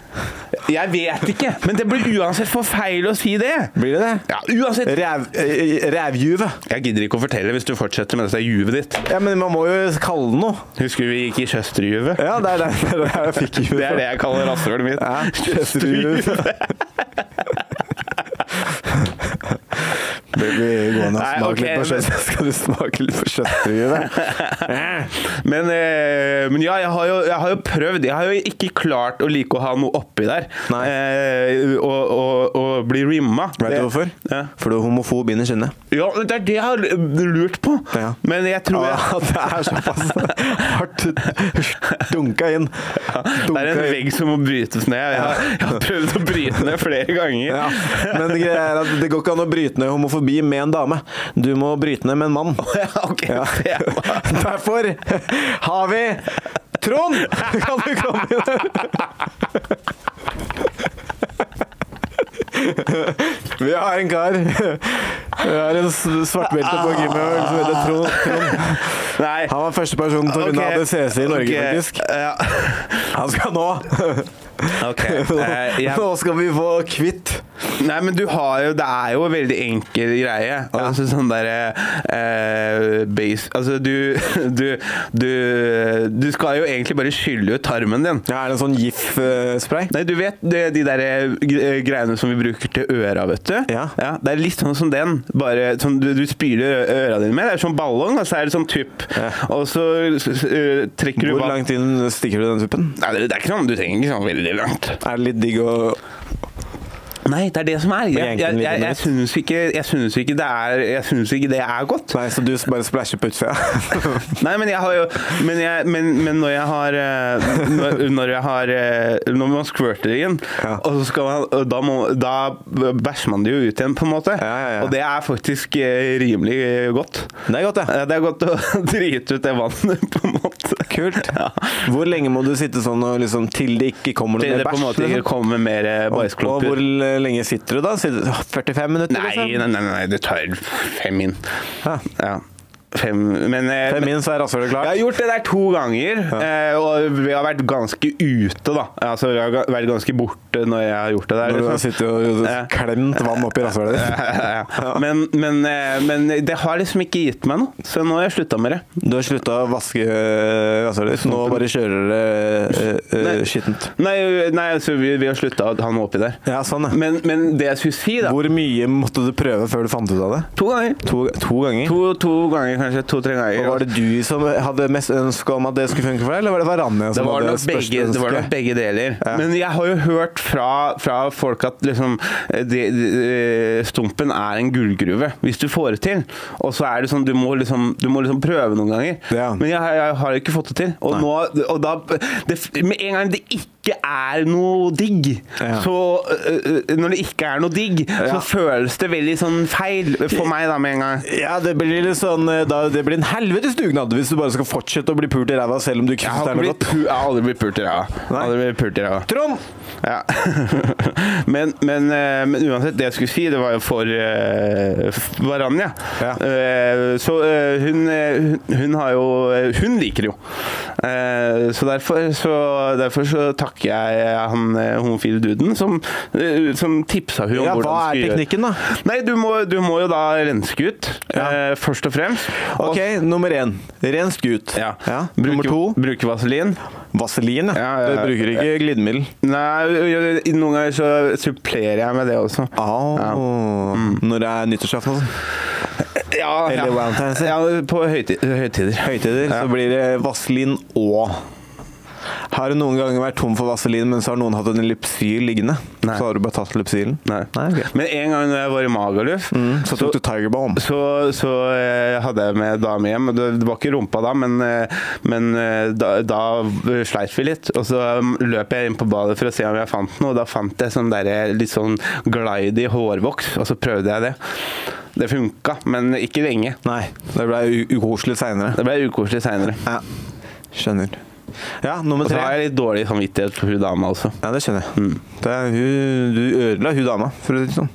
Jeg vet ikke, men det blir uansett for feil å si det.
Blir det det?
Ja, uansett.
Ræv, eh, rævjuve.
Jeg gidder ikke å fortelle hvis du fortsetter med dette juvet ditt.
Ja, men man må jo kalle det noe.
Husker du vi gikk i søsterjuvet?
Ja, det er det, det, er det jeg fikk juve.
Det er det jeg kaller rasshølet mitt.
Ja, kjøsterjuve. Det blir gående og
Nei,
smake
ok,
litt på
men-
kjøtt. Skal du smake litt på kjøttdrive?
Men, eh, men ja, jeg har, jo, jeg har jo prøvd. Jeg har jo ikke klart å like å ha noe oppi der.
Nei.
Eh, og, og, og bli rimma.
Vet du
Det-
hvorfor?
Ja.
For du er homofob inn i kinnet.
Ja, men det er det jeg har lurt på.
Ja.
Men jeg tror jeg
Ja, det er såpass hardt dunka inn.
Det er en
Dunka inn.
vegg som må brytes ned. Jeg har, jeg har prøvd å bryte ned flere ganger.
Ja, men greia er at det går ikke an å bryte ned homofobi med en dame. Du må bryte ned med en mann.
Ja, ok.
Ja.
Ja.
Derfor har vi Trond! Kan du komme inn her? Vi har en kar Vi har en s- svartbelte på gymmet som heter Trond. Trond.
Nei.
Han var første person til å vinne
Ok.
ADCC i Norge,
Ok.
faktisk.
Ja.
Han skal nå
Ok. Eh, jeg-
Nå skal vi få kvitt
Nei, men du har jo Det er jo en veldig enkel greie. Altså sånn derre eh, base Altså, du, du Du Du skal jo egentlig bare skylle ut tarmen din.
Ja, Er det en sånn GIF-spray?
Nei, du vet det, de der eh, greiene som vi bruker til øra, vet du?
Ja.
Det er litt sånn som den, bare sånn du, du spyler øra dine med. Det er sånn ballong, og så er det sånn tupp. Og så s- s- eh, trekker du
Hvor
vann-
langt inn stikker du den tuppen?
Nei, det, det er ikke sånn, du trenger ikke sånn veldig langt.
Er det litt digg å
Nei, det er det som er. Jeg, jeg, jeg, jeg syns ikke, jeg synes ikke, det er- jeg synes ikke det er godt.
Nei, så du bare splæsjer på utsida?
Nei, men jeg har jo Men, jeg, men, men når jeg har eh, Når, når jeg har eh, Når man squirter inn,
Ja.
og så skal man og Da, må, da bæsjer man det jo ut igjen, på en måte.
ja, ja.
Og det er faktisk eh, rimelig eh, godt.
det er godt, det.
Eh, Det er godt å drite ut det vannet, på en måte.
Kult.
Ja.
Hvor lenge må du sitte sånn og liksom, til det ikke kommer noe
Til
mer
det på en
bæsj?
måte ikke
Liksom?
kommer mer eh,
Og, og hvor eh, liksom?
bæsjklumper.
lenge sitter du da? Sitter- 45 minutter?
Nei, nei, nei, nei, det tar fem min.
Ja.
Ja. Fem, men, eh,
Fem min, så er rasshølet
Jeg har
klart.
gjort det der to ganger, eh, og vi har vært ganske ute, da. Altså, vi har ga- vært ganske borte når jeg har gjort det der.
Når du har
liksom.
sittet og
Ja.
klemt vann oppi rasshølet ditt.
Ja, ja. men, men, eh, men det har liksom ikke gitt meg noe, så nå har jeg slutta med det.
Du har slutta å vaske øh, rasshølet ditt, nå bare kjører det øh, øh,
Nei.
skittent.
Nei, nei altså, vi, vi har slutta å ha noe oppi der.
Ja, sånn, ja.
Men, men det jeg skulle si, da
Hvor mye måtte du prøve før du fant ut av det?
To ganger.
To, to ganger?
To, to ganger, kanskje. To-tre ganger.
Og var det du som hadde mest ønske om at det skulle funke for deg, eller var det Varanja
Det
som
var,
hadde
nok
størst
begge, det var nok
ønske?
begge deler. Men jeg har jo hørt fra, fra folk at liksom eh, det- det- eh, Stumpen er en gullgruve, hvis du får det til. Og så er det sånn, du må liksom, du må liksom prøve noen ganger.
Ja.
Men jeg, har- jeg har ikke fått det til. Og, nå, og da det, Med en gang det ikke er noe digg,
Ja.
så eh, eh, Når det ikke er noe digg,
Ja.
så føles det veldig sånn feil for meg da med en gang.
Ja, det blir litt sånn eh, da, Det blir en helvetes dugnad hvis du bare skal fortsette å bli pult i ræva selv om du ikke
Jeg
syns det er
har, ikke
noe
blitt,
godt.
pu- jeg har aldri blitt pult i ræva.
Nei.
Aldri blitt pult i ræva.
Trond!
Ja. men, men, eh, men uansett, det jeg skulle si, det var jo for eh, f- Varanja.
Ja.
Eh, Så eh, hun, eh, hun, hun har jo eh, Hun liker det jo. Eh, Så derfor så, derfor så takker jeg eh, han eh, homofile duden som, eh, som tipsa hun om
Ja,
hvordan
hva
du
er
skulle gjøre.
teknikken, da?
Nei, du må, du må jo da renske ut,
Ja.
eh, først og fremst. Og-
Ok, nummer én. Ren skut.
Ja.
Nummer
Bruke,
to.
bruke vaselin.
Vaselin, ja.
Ja, ja, ja.
Du bruker ikke glidemiddel.
Nei, noen ganger så supplerer jeg med det også.
Au.
Ja. Mm.
Når det er nyttårsaften, altså.
Ja,
Eller
ja.
Valentine's Day.
ja på høytid, høytider.
Høytider,
Ja.
så blir det vaselin og Har du noen ganger vært tom for vaselin, men så har noen hatt en lypsyl liggende?
Nei.
Så har du bare tatt lypsylen?
Nei. Mm,
ok.
Men en gang når jeg var i Magaluf,
Så tok du Tiger Balm.
så, så eh, hadde jeg med dame hjem. og Det det var ikke rumpa da, men, eh, men eh, da, da sleit vi litt. Og så mm, løp jeg inn på badet for å se om jeg fant noe, og da fant jeg sånn der, litt sånn glide i hårvoks, og så prøvde jeg det. Det funka, men ikke lenge.
Nei, det ble u- ukoselig seinere.
Det ble ukoselig seinere.
Ja. Skjønner. Ja, nummer
Og så
tre.
har jeg litt dårlig samvittighet for hun dama også. Mm,
Ja, det skjønner jeg. Det er, hun, du ødela hun dama, for å si det sånn.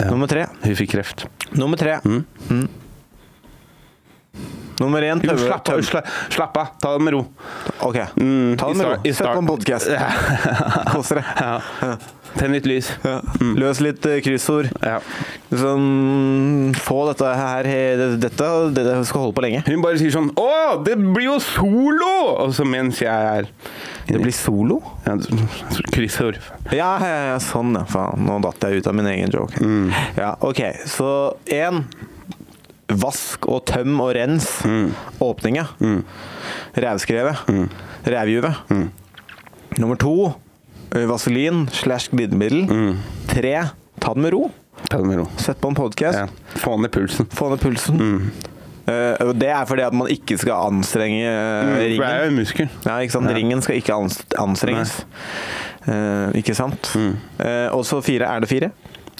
Ja.
Nummer tre.
Hun fikk kreft.
Nummer tre.
Mm.
Mm. Nummer én
Jo,
tømme-
slapp av,
tøm-
sla- slapp av, ta det med ro.
Ok.
Mm,
Ta
i
det med
start- i
ro. Sett på en
start-
podkast.
Ja.
Kos dere.
Ja. Tenn litt lys.
Ja. Løs litt eh, kryssord.
Ja.
Liksom, få dette her he- Dette, dette skal holde på lenge.
Hun bare sier sånn 'Å, det blir jo solo!' Og så mens jeg er
Det blir solo?
ja, så- Kryssord.
Ja, ja, ja sånn, ja. Faen, nå datt jeg ut av min egen joke. Ja, OK, så én Vask og tøm og rens. Åpninga. Rævskrevet. Rævjuvet. Nummer to eh, vaselin slash glidemiddel. Tre ta det med ro.
Ta det med ro.
Sett på en podkast.
Ja. Få ned pulsen.
Få ned pulsen.
Mm.
Eh, og det er fordi at man ikke skal anstrenge eh,
Mm, Det er jo
ringen.
en muskel.
Ja, ikke sant? Ringen skal ikke ans anstrenges. Eh, ikke sant?
Mm.
Eh, og så fire. Er det fire?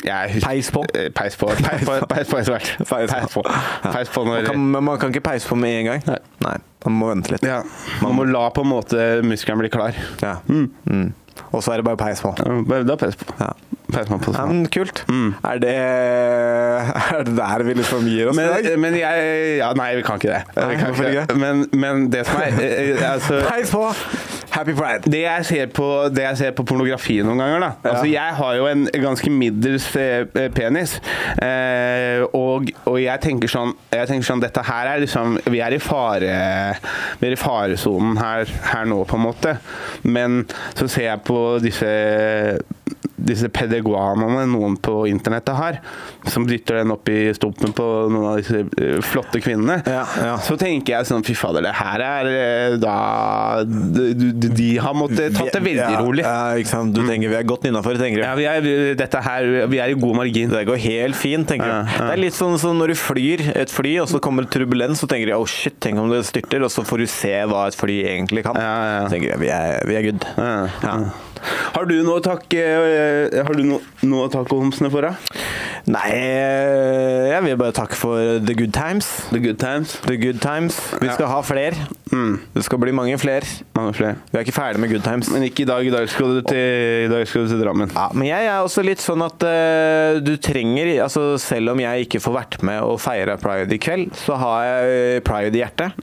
Jeg husker-
Peis på.
Eh, Peis på. Peis på, peis på etter hvert.
Peis på.
Peis på. Peis på
Man kan,
når
men man kan ikke peise på med en gang.
Nei.
man må vente litt.
ja. Man må la på en måte muskelen bli klar.
Ja. Mm. Og så er det bare peis på.
Ja, Da peis på.
Ja.
Peis man på
Ja,
sånn.
men kult. Er, det, er det der vi liksom gir oss i dag?
Men, eh, men jeg Ja, nei, vi kan ikke det.
Nei,
vi kan
hvorfor
ikke
ikke?
det. Men, men det som er eh, eh, altså,
Peis på! Happy pride!
det jeg, ser på, det jeg ser på pornografi noen ganger, da Altså, jeg har jo en ganske middels eh, eh, penis. Eh, og, og jeg tenker sånn Jeg tenker sånn Dette her er liksom Vi er i fare Vi er i faresonen her, her nå, på en måte. Men så ser jeg på disse disse pedagoanene noen på internettet har, som dytter den opp i stumpen på noen av disse eh, flotte kvinnene,
Ja, ja.
så tenker jeg sånn Fy fader, det her er eh, da De, de- de har måttet tatt det veldig
Ja,
rolig. Mm.
Ja, ikke sant? Du tenker vi er godt innafor, tenker du.
Ja, vi er, dette her, vi er i god margin.
Det går helt fint, tenker
Ja,
du.
ja.
Det er litt sånn som når du flyr et fly, og så kommer det turbulens, så tenker du oh shit, tenk om det styrter, og så får du se hva et fly egentlig kan.
Ja, ja.
Så tenker jeg vi er, vi er good.
Ja. Har du noe å takke eh, Har du no, noe å takke homsene for, da?
Nei, eh, jeg vil bare takke for the good times.
The good times?
The good times. Vi
Ja.
skal ha fler.
Mm.
Det skal bli mange fler.
Mange flere.
Vi er ikke ferdig med good times.
Men ikke i dag. I dag skal du til, i dag skal du til Drammen.
Ja, men jeg er også litt sånn at eh, du trenger altså Selv om jeg ikke får vært med og feire pride i kveld, så har jeg pride i hjertet.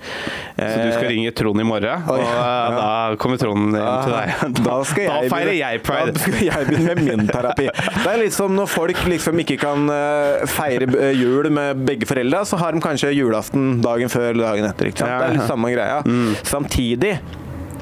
Så du skal
Eh,
ringe Trond i morgen,
Oi.
og eh, da kommer Trond hjem til deg.
Da, skal jeg
da feirer
begynne-
jeg
Da
pride.
skal jeg begynne med min terapi. Det er litt som når folk liksom ikke kan eh, feire eh, jul med begge foreldra, så har de kanskje julaften dagen før eller dagen etter. Ikke sant?
Ja, Mm.
Det er
ja.
litt samme greia. Samtidig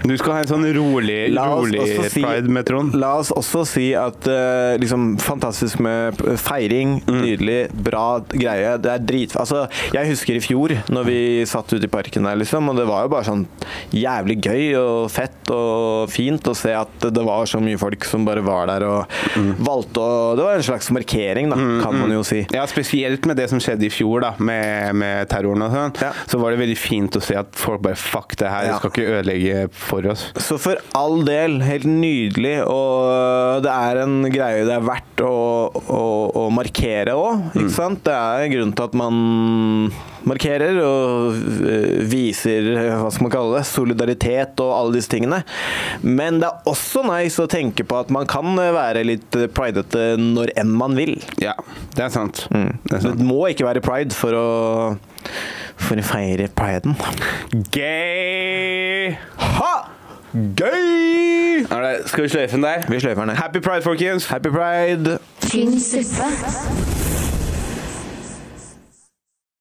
Du skal ha en sånn rolig, rolig
også si-
pride med Trond.
La oss også si at eh, liksom, fantastisk med p- feiring,
Mm.
nydelig, bra greie. Det er drit... Altså, jeg husker i fjor, når vi satt ute i parken der, liksom, og det var jo bare sånn jævlig gøy og fett og fint å se at det var så mye folk som bare var der og
Mm.
valgte å Det var en slags markering, da, kan man jo si.
Ja, spesielt med det som skjedde i fjor, da, med, med terroren og sånn.
Ja.
Så var det veldig fint å se at folk bare Fuck det her,
Ja.
det skal ikke ødelegge for oss.
Så for all del, helt nydelig, og det er en greie det er verdt å, å, å markere òg, ikke sant? Det er en grunn til at man markerer og øh, viser, øh, hva skal man kalle det, solidaritet og alle disse tingene. Men det er også nice å tenke på at man kan være litt pridete når enn man vil.
Ja, det er sant. Det er
Det
sant.
må ikke være pride for å, for å feire priden.
Gay!
Ha! Gøy!
Er det, skal vi sløyfe den der?
Vi sløyfer den.
Happy pride, folkens!
Happy pride!
tynn suppe.